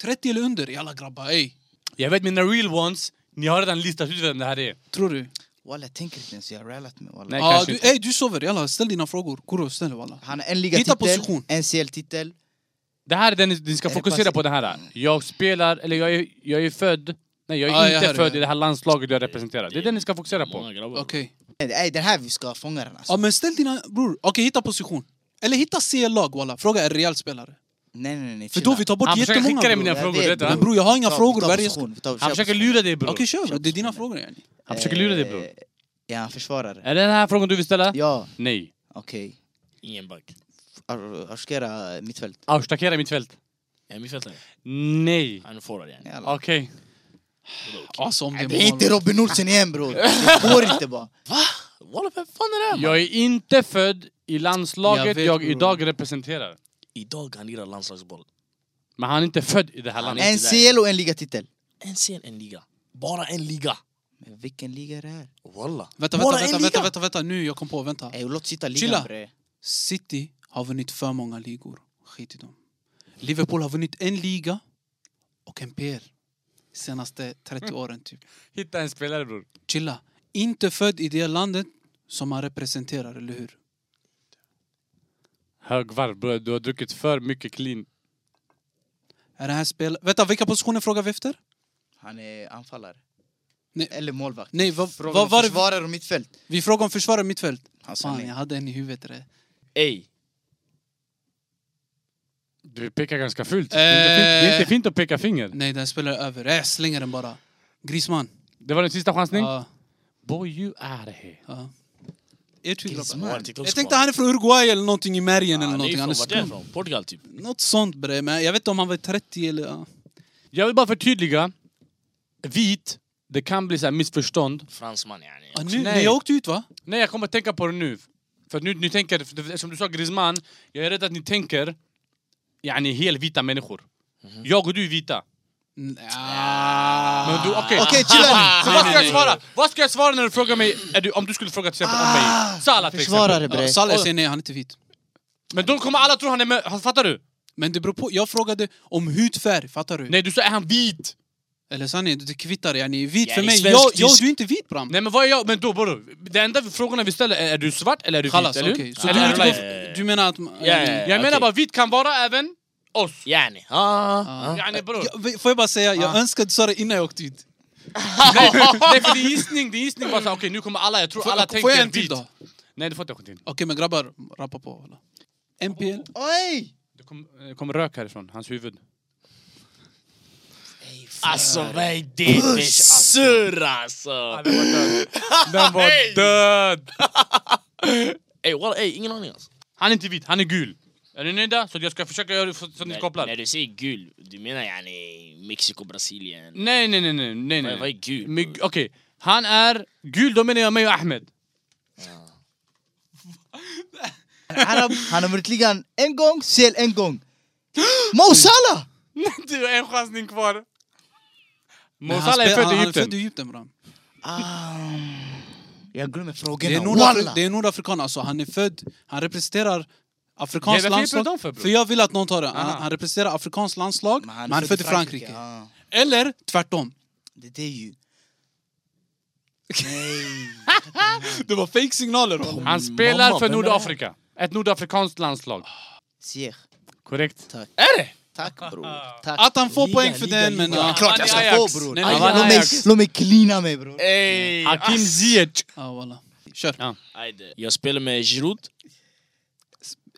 [SPEAKER 1] 30 eller under, jalla grabbar ey.
[SPEAKER 2] Jag vet mina real ones, ni har redan listat ut vem det här är.
[SPEAKER 1] Tror du?
[SPEAKER 3] Walla, jag tänker inte ens. Jag har rallat mig. walla.
[SPEAKER 2] Nej,
[SPEAKER 1] Ja,
[SPEAKER 2] kanske
[SPEAKER 1] du,
[SPEAKER 2] inte.
[SPEAKER 1] ey, du sover. Jalla, ställ dina frågor. Kuro, snälla walla.
[SPEAKER 3] Ah, Han har en
[SPEAKER 1] Hitta
[SPEAKER 3] ligatitel,
[SPEAKER 1] position.
[SPEAKER 3] en CL-titel.
[SPEAKER 2] Det här är den ni ni ska
[SPEAKER 3] Är det
[SPEAKER 2] fokusera
[SPEAKER 3] pass-
[SPEAKER 2] på det här. Jag spelar, eller jag är, jag är född Nej, jag är
[SPEAKER 1] Ja, jag
[SPEAKER 2] inte
[SPEAKER 1] hör
[SPEAKER 2] för
[SPEAKER 1] det.
[SPEAKER 2] det, Oh här landslaget jag representerar. Det är det ni ska fokusera
[SPEAKER 4] Många
[SPEAKER 2] på.
[SPEAKER 4] grabbar.
[SPEAKER 1] Okej.
[SPEAKER 3] Nej, det- nej, den här vi ska fånga den alltså.
[SPEAKER 1] Ja men ställ dina... Bror, okej hitta position. Eller hitta CL-lag walla. Fråga en rejäl spelare.
[SPEAKER 3] Nej, nej, nej.
[SPEAKER 1] För
[SPEAKER 3] chilla.
[SPEAKER 1] då vi tar bort
[SPEAKER 2] Han försöker
[SPEAKER 1] jättemånga
[SPEAKER 2] skicka dig med
[SPEAKER 1] bror.
[SPEAKER 2] dina
[SPEAKER 3] Jag
[SPEAKER 2] frågor,
[SPEAKER 3] vet,
[SPEAKER 2] vet du.
[SPEAKER 1] Men bror jag har inga
[SPEAKER 3] Vi tar-
[SPEAKER 1] frågor.
[SPEAKER 3] vi tar
[SPEAKER 1] Varje...
[SPEAKER 3] position, vi tar-
[SPEAKER 2] Han
[SPEAKER 3] kör
[SPEAKER 2] försöker
[SPEAKER 3] position.
[SPEAKER 2] lura dig bror.
[SPEAKER 1] Okej kör, det är dina frågor yani.
[SPEAKER 2] Han försöker lura dig bror.
[SPEAKER 3] Eh, Är han försvarare?
[SPEAKER 2] Är det den här frågan du vill ställa?
[SPEAKER 3] Ja,
[SPEAKER 2] Nej.
[SPEAKER 3] okej.
[SPEAKER 4] Ingen back.
[SPEAKER 3] Ar- Arskera mittfält.
[SPEAKER 2] Austakera i mitt fält.
[SPEAKER 4] Är han mittfältare?
[SPEAKER 2] Nej.
[SPEAKER 4] Han är forward yani.
[SPEAKER 3] Jalla.
[SPEAKER 2] Okej.
[SPEAKER 1] Alltså om det
[SPEAKER 3] Det är
[SPEAKER 1] är
[SPEAKER 3] inte
[SPEAKER 1] mål.
[SPEAKER 3] Robin Olsen igen bror. Det går inte bara.
[SPEAKER 4] Walla vem fan är det här man?
[SPEAKER 2] Jag är inte född i landslaget
[SPEAKER 1] Jag
[SPEAKER 2] jag,
[SPEAKER 1] vet, bror.
[SPEAKER 2] idag representerar.
[SPEAKER 4] Idag han lirar landslagsboll.
[SPEAKER 2] Men han är inte född i det här
[SPEAKER 4] Han
[SPEAKER 2] landet.
[SPEAKER 4] är-
[SPEAKER 3] En CL och en ligatitel.
[SPEAKER 4] En scen, en liga. Bara en liga.
[SPEAKER 3] Men vilken liga är det här?
[SPEAKER 4] Walla.
[SPEAKER 1] Vänta,
[SPEAKER 4] Bara
[SPEAKER 1] vänta,
[SPEAKER 4] en
[SPEAKER 1] vänta,
[SPEAKER 4] liga.
[SPEAKER 1] vänta, vänta, vänta, nu jag kom på, vänta.
[SPEAKER 3] Ey, låt sitta
[SPEAKER 1] Chilla.
[SPEAKER 3] ligan bre.
[SPEAKER 1] City har vunnit för många ligor. Skit i dem. Liverpool har vunnit en liga och en PR. Senaste 30 åren typ.
[SPEAKER 2] Hitta en spelare bror.
[SPEAKER 1] Chilla. Inte född i det landet som han representerar, eller hur?
[SPEAKER 2] Högvarv bror. Du har druckit för mycket clean.
[SPEAKER 1] Är det här spel... Vänta, vilka positioner frågar vi efter?
[SPEAKER 3] Han är anfallare.
[SPEAKER 1] Nej.
[SPEAKER 3] Eller målvakt.
[SPEAKER 1] Nej, vad,
[SPEAKER 3] Frågan
[SPEAKER 1] vad
[SPEAKER 3] om
[SPEAKER 1] var det?
[SPEAKER 3] försvarare och mittfält. Alltså,
[SPEAKER 1] Vi frågar om försvarare och mittfält.
[SPEAKER 3] Han sa
[SPEAKER 1] Fan,
[SPEAKER 3] nej.
[SPEAKER 1] jag hade en i huvudet. Det.
[SPEAKER 4] Ey,
[SPEAKER 2] Du pekar ganska fult. Det, är inte fint. det är inte fint att peka finger.
[SPEAKER 1] Nej, den spelar över. Äh, slänger den bara. Grisman.
[SPEAKER 2] Det var din sista chansning.
[SPEAKER 1] Ja,
[SPEAKER 2] Boy you are here.
[SPEAKER 1] ja. Er tur, grabbar.
[SPEAKER 4] var
[SPEAKER 3] Man.
[SPEAKER 4] det TikToks
[SPEAKER 1] Jag tänkte han är från Uruguay eller någonting i märgen eller
[SPEAKER 4] Han är
[SPEAKER 1] någonting.
[SPEAKER 4] ju
[SPEAKER 1] Han
[SPEAKER 4] från,
[SPEAKER 1] är
[SPEAKER 4] vart är han
[SPEAKER 1] skum.
[SPEAKER 4] från? Portugal typ.
[SPEAKER 1] Något sånt bre, men jag vet inte om han var 30 eller... Ja.
[SPEAKER 2] Jag vill bara förtydliga. Vit. Det kan bli så här missförstånd.
[SPEAKER 4] Fransman yani.
[SPEAKER 1] Ah, nu,
[SPEAKER 2] Nej.
[SPEAKER 1] när jag åkte ut va?
[SPEAKER 2] Nej, jag kommer att tänka på det nu. För att nu, nu tänker, för det- som du sa Griezmann, jag är rädd att ni tänker yani helvita människor. Jag och du är vita. Men du, okej.
[SPEAKER 3] Okej, chilla
[SPEAKER 2] Så
[SPEAKER 3] nu.
[SPEAKER 2] vad ska jag svara? Vad ska jag svara när du frågar mig, är du, om du skulle fråga till exempel om mig? Salah till exempel.
[SPEAKER 3] Försvarare
[SPEAKER 1] Ja,
[SPEAKER 3] bre.
[SPEAKER 1] Salah säger nej, han är inte vit.
[SPEAKER 2] Men då kommer alla tro han är med, han- fattar du?
[SPEAKER 1] Men det beror på, jag frågade om hudfärg, fattar du?
[SPEAKER 2] Nej du sa är han vit?
[SPEAKER 1] Eller sanningen, det kvittar yani. Vit
[SPEAKER 4] Ja,
[SPEAKER 1] för
[SPEAKER 4] i
[SPEAKER 1] mig,
[SPEAKER 4] svensk
[SPEAKER 1] jag, jag,
[SPEAKER 4] tysk-
[SPEAKER 1] du är inte vit bram.
[SPEAKER 2] Nej men vad är jag? Men då bror, det enda frågorna vi ställer är, är du svart eller är du
[SPEAKER 1] Kallas,
[SPEAKER 2] vit? Eller
[SPEAKER 1] okej.
[SPEAKER 2] hur?
[SPEAKER 1] Så
[SPEAKER 2] Eller
[SPEAKER 1] du,
[SPEAKER 2] är
[SPEAKER 1] utgår,
[SPEAKER 2] du
[SPEAKER 4] Ja, ja, ja.
[SPEAKER 1] från- du menar att...
[SPEAKER 4] Ja, ja, ja.
[SPEAKER 2] Jag menar
[SPEAKER 4] Okej.
[SPEAKER 2] bara vit kan vara även oss.
[SPEAKER 4] Yani. Ah, ah.
[SPEAKER 2] Yani bror.
[SPEAKER 1] Jag, får jag bara säga, jag önskar att du sa det innan jag åkte ut.
[SPEAKER 2] Nej, nej för det är gissning, det är gissning bara så här, okej nu kommer alla, jag tror
[SPEAKER 1] Får,
[SPEAKER 2] alla
[SPEAKER 1] får jag
[SPEAKER 2] tänker
[SPEAKER 1] en till
[SPEAKER 2] vit.
[SPEAKER 1] då? Okej
[SPEAKER 2] Nej du får inte en till.
[SPEAKER 1] men grabbar, rappa på. Alla. MPL?
[SPEAKER 3] Oj!
[SPEAKER 2] Det kommer kom rök härifrån, hans huvud.
[SPEAKER 4] Alltså vad är det för surr alltså?
[SPEAKER 2] Den var död. Den var död!
[SPEAKER 4] Ey walla, ey ingen aning alltså.
[SPEAKER 2] Han är inte vit, han är gul. Är ni nöjda? Så jag ska försöka göra så så ni kopplar.
[SPEAKER 4] När du säger gul, du menar yani Mexiko, Brasilien?
[SPEAKER 2] Nej, nej, nej, nej, nej,
[SPEAKER 4] Vad- Vad
[SPEAKER 2] nej.
[SPEAKER 4] är gul? Mm.
[SPEAKER 2] Men gu- Okej, han är gul, då menar jag mig och Ahmed.
[SPEAKER 3] Arab, han har vunnit ligan en gång, CL en gång. Mo Salah!
[SPEAKER 2] Du har en chansning kvar.
[SPEAKER 1] Men
[SPEAKER 2] Mo
[SPEAKER 1] han
[SPEAKER 2] Salah är
[SPEAKER 1] spel-
[SPEAKER 2] född i
[SPEAKER 1] Han är född i
[SPEAKER 2] Egypten.
[SPEAKER 1] Egypten bram.
[SPEAKER 3] Ah, jag glömmer
[SPEAKER 1] Det är,
[SPEAKER 3] frågorna.
[SPEAKER 1] Nordafri-
[SPEAKER 3] Walla!
[SPEAKER 1] det är nordafrikan, alltså han är född, han representerar
[SPEAKER 2] Nej,
[SPEAKER 1] afrikanskt
[SPEAKER 2] varför hjälper du
[SPEAKER 1] landslag.
[SPEAKER 2] dem för, bror?
[SPEAKER 1] För jag vill att någon tar det.
[SPEAKER 2] Aha.
[SPEAKER 1] Han, han representerar afrikanskt landslag, men han är född i Frankrike.
[SPEAKER 3] ja.
[SPEAKER 1] Eller tvärtom.
[SPEAKER 3] Det är det ju. Nej.
[SPEAKER 1] Det var fake signaler. Roland.
[SPEAKER 2] Han spelar
[SPEAKER 3] Mamma,
[SPEAKER 2] för
[SPEAKER 3] vem är det här?
[SPEAKER 2] Nordafrika. Ett nordafrikanskt landslag.
[SPEAKER 3] Sieg.
[SPEAKER 2] Korrekt.
[SPEAKER 4] Är det?
[SPEAKER 3] Tack bror. Tack.
[SPEAKER 1] Att han får poäng för den, men,
[SPEAKER 3] liga.
[SPEAKER 1] ja.
[SPEAKER 3] Klart jag
[SPEAKER 2] Ajax.
[SPEAKER 3] ska få bror.
[SPEAKER 1] Nej, nej,
[SPEAKER 3] Aj,
[SPEAKER 2] nej.
[SPEAKER 3] Låt mig,
[SPEAKER 2] Ajax.
[SPEAKER 3] låt mig klina mig
[SPEAKER 4] Eh,
[SPEAKER 3] bror.
[SPEAKER 4] Ey!
[SPEAKER 2] Hakim Ziyech.
[SPEAKER 1] Ja, voilà. Kör.
[SPEAKER 2] Ja.
[SPEAKER 4] Ajde. Jag spelar med Giroud,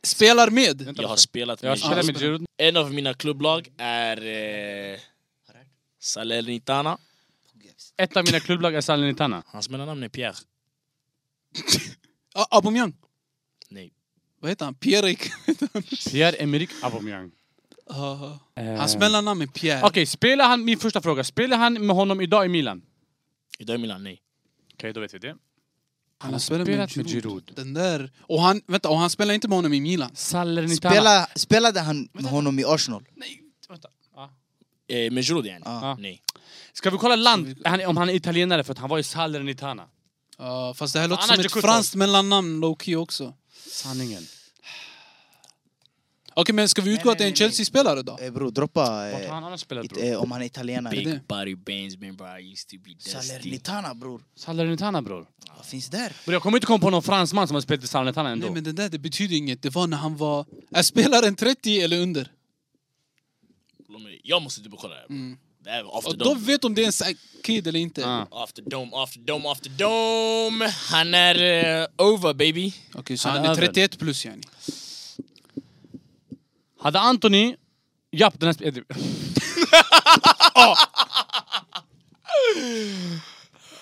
[SPEAKER 1] Spelar med.
[SPEAKER 4] jag har spelat
[SPEAKER 2] Jag
[SPEAKER 4] med
[SPEAKER 2] spelar
[SPEAKER 4] Giroud.
[SPEAKER 2] med Giroud.
[SPEAKER 4] En av mina klubblag är eh, Salernitana.
[SPEAKER 2] Ett av mina klubblag är Salernitana.
[SPEAKER 4] Hans mellannamn är Pierre.
[SPEAKER 1] Ah, Aubameyang.
[SPEAKER 4] Nej.
[SPEAKER 1] Vad heter han? Pierre-Erik?
[SPEAKER 2] Pierre-Emerick Aubameyang.
[SPEAKER 1] Ja.
[SPEAKER 2] Eh,
[SPEAKER 1] Hans mellannamn är Pierre.
[SPEAKER 2] Okej, spelar han... Min första fråga. Spelar han med honom idag i Milan?
[SPEAKER 4] Idag är Milan, nej.
[SPEAKER 2] Okej, då vet vi det.
[SPEAKER 1] han
[SPEAKER 2] har
[SPEAKER 1] spelar
[SPEAKER 2] spelat med Giroud.
[SPEAKER 1] Den där. Och han, vänta, och han spelar inte med honom i Milan.
[SPEAKER 2] Salernitana.
[SPEAKER 3] Spela, spelade han med honom i Arsenal?
[SPEAKER 2] Nej, vänta. Ja.
[SPEAKER 4] Eh, med Giroud yani?
[SPEAKER 3] Ja.
[SPEAKER 4] Nej.
[SPEAKER 2] Ska vi kolla land, han, om han är italienare för att han var i Salernitana?
[SPEAKER 1] Ja, fast det här låter
[SPEAKER 2] Annars
[SPEAKER 1] som
[SPEAKER 2] är
[SPEAKER 1] ett
[SPEAKER 2] Kutov.
[SPEAKER 1] franskt mellannamn low key också. Okej,
[SPEAKER 2] Sanningen.
[SPEAKER 1] men ska vi utgå
[SPEAKER 3] Nej,
[SPEAKER 1] att det är en
[SPEAKER 3] nej, nej, nej.
[SPEAKER 1] Chelsea-spelare då?
[SPEAKER 3] Eh, bror, droppa
[SPEAKER 2] Vart har
[SPEAKER 3] eh,
[SPEAKER 2] han annars spelat bror?
[SPEAKER 3] it- eh, om han är italienare.
[SPEAKER 1] det?
[SPEAKER 4] Big body bands, remember I used to be dusty.
[SPEAKER 3] Salernitana bror.
[SPEAKER 2] Salernitana bror.
[SPEAKER 3] Vad finns där?
[SPEAKER 2] Bror jag kommer inte komma på någon fransman som har spelat i Salernitana ändå.
[SPEAKER 1] Nej men det där det betyder inget. Det var när han var... Är spelaren 30 eller under?
[SPEAKER 4] Låt mig- Jag måste dubbelkolla det här.
[SPEAKER 1] Mm.
[SPEAKER 4] Det Det här var after
[SPEAKER 1] Och då
[SPEAKER 4] dome.
[SPEAKER 1] vet om det är en psy- kid eller inte.
[SPEAKER 2] Ah.
[SPEAKER 4] After dome, after dome, after dome. Han är eh, over baby.
[SPEAKER 1] Okej, så
[SPEAKER 2] Han
[SPEAKER 1] han
[SPEAKER 2] är
[SPEAKER 1] är
[SPEAKER 2] över.
[SPEAKER 1] 31 plus yani.
[SPEAKER 2] Hade Anthony... Japp, den här... sp-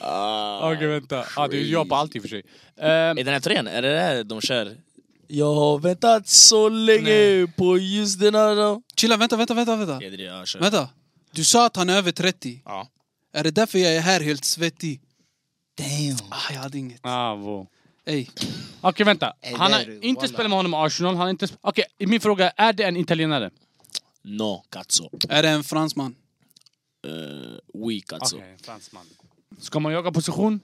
[SPEAKER 4] Ah.
[SPEAKER 2] Okej, vänta. Ah, det är ju jag på allt i och för sig. Ehm,
[SPEAKER 4] Är den här trean, är det där de kör? Jag har väntat så länge på just den här... då.
[SPEAKER 1] Chilla, vänta, vänta, vänta. vänta.
[SPEAKER 4] Ja, det är det jag kör.
[SPEAKER 1] Vänta. Du sa att han är över 30.
[SPEAKER 4] Ja.
[SPEAKER 1] Är det därför jag är här helt svettig?
[SPEAKER 3] Damn.
[SPEAKER 1] Ah, jag hade inget.
[SPEAKER 2] ah, wow.
[SPEAKER 1] Ey.
[SPEAKER 2] Okej, vänta.
[SPEAKER 3] Ey,
[SPEAKER 2] Han
[SPEAKER 3] där
[SPEAKER 2] har
[SPEAKER 3] du,
[SPEAKER 2] inte
[SPEAKER 3] wallah.
[SPEAKER 2] spelat med honom i Arsenal. Han har inte... sp- Okej, min fråga. Är det en italienare?
[SPEAKER 4] No, cazzo.
[SPEAKER 1] Är det en fransman?
[SPEAKER 4] Uh, oui,
[SPEAKER 2] Alltså.
[SPEAKER 4] cazzo.
[SPEAKER 2] fransman. Ska man jaga position?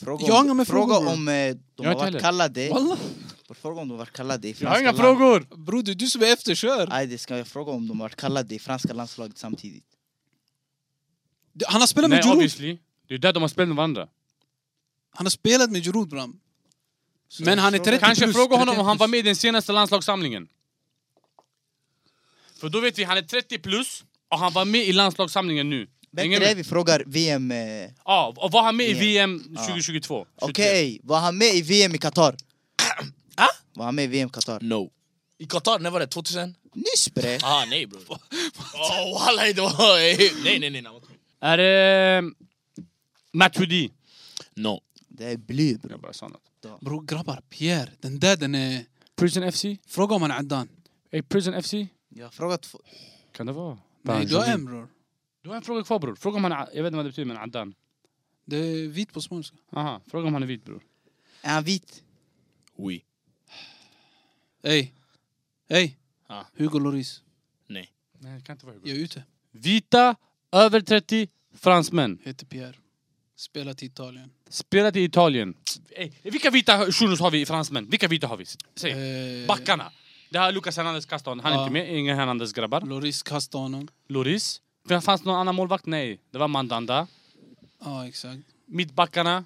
[SPEAKER 3] Fråga
[SPEAKER 1] Jag hänger med
[SPEAKER 3] fråga
[SPEAKER 1] frågor.
[SPEAKER 3] om eh, de
[SPEAKER 2] Jag
[SPEAKER 3] har
[SPEAKER 2] inte
[SPEAKER 3] varit
[SPEAKER 2] heller.
[SPEAKER 3] kallade.
[SPEAKER 1] Walla.
[SPEAKER 3] Fråga om de har varit kallade i
[SPEAKER 2] Jag har
[SPEAKER 3] franska
[SPEAKER 2] inga
[SPEAKER 3] land-
[SPEAKER 2] frågor!
[SPEAKER 1] Bror, det är du som är efterkör.
[SPEAKER 3] Nej, det ska jag fråga om de har varit kallade i franska landslaget samtidigt.
[SPEAKER 1] Du, Han har spelat
[SPEAKER 2] Nej,
[SPEAKER 1] med Giroud.
[SPEAKER 2] obviously. Det är där de har spelat med varandra.
[SPEAKER 1] Han har spelat med Giroud, Bram.
[SPEAKER 3] Så
[SPEAKER 1] Men han är
[SPEAKER 3] fråga-
[SPEAKER 1] 30
[SPEAKER 2] Kanske
[SPEAKER 1] plus.
[SPEAKER 2] fråga honom
[SPEAKER 1] 31
[SPEAKER 2] om han
[SPEAKER 1] plus.
[SPEAKER 2] var med i den senaste landslagssamlingen. För då vet vi, han är 30 plus och han var med i landslagssamlingen nu. Hänger
[SPEAKER 3] Bättre
[SPEAKER 2] med?
[SPEAKER 3] är vi frågar VM... Eh,
[SPEAKER 2] Ja, och var han med i VM
[SPEAKER 3] Ja.
[SPEAKER 2] 2022?
[SPEAKER 3] Okej,
[SPEAKER 2] 23?
[SPEAKER 3] var han med i VM i Qatar? Var han med i VM i Qatar?
[SPEAKER 4] No. I Qatar, när var det? 2000?
[SPEAKER 3] Nyss bre!
[SPEAKER 4] Ah, nej bror. oh, walla, det var... nej, nej, nej. nej.
[SPEAKER 2] Är det... Matuidi?
[SPEAKER 4] No.
[SPEAKER 3] Det är bly bre.
[SPEAKER 2] Jag bara sa något.
[SPEAKER 1] Bror, grabbar. Pierre. Den där, den är...
[SPEAKER 2] Prison FC?
[SPEAKER 1] Fråga om han är Addan.
[SPEAKER 2] Är Prison FC?
[SPEAKER 3] Jag har frågat... två-
[SPEAKER 2] Kan det vara?
[SPEAKER 1] Nej, du har en, bror.
[SPEAKER 2] Du har en fråga kvar bror. Fråga om han... är- Jag vet inte vad det betyder men Addan.
[SPEAKER 1] Det är vit på småländska.
[SPEAKER 2] Aha, fråga om han är vit bror.
[SPEAKER 3] Är han vit?
[SPEAKER 4] Oui.
[SPEAKER 1] Ey. Ey.
[SPEAKER 4] Ah.
[SPEAKER 1] Hugo Lloris.
[SPEAKER 4] Nej.
[SPEAKER 2] Nej, det kan inte vara Hugo.
[SPEAKER 1] Jag är ute.
[SPEAKER 2] Vita, över 30, fransmän.
[SPEAKER 1] Heter Pierre. Spelat i Italien.
[SPEAKER 2] Spelat i Italien. Eh, Vilka vita shunos har vi i fransmän? Vilka vita har vi? Säg.
[SPEAKER 1] Eh,
[SPEAKER 2] Backarna. Det här Lucas Hernandez kastade honom. Han är
[SPEAKER 1] Ja.
[SPEAKER 2] inte med. Inga Hernandez grabbar.
[SPEAKER 1] Lloris kastade honom.
[SPEAKER 2] Loris. Fanns det någon annan målvakt? Nej. Det var Mandanda.
[SPEAKER 1] Ja, exakt.
[SPEAKER 2] Mittbackarna.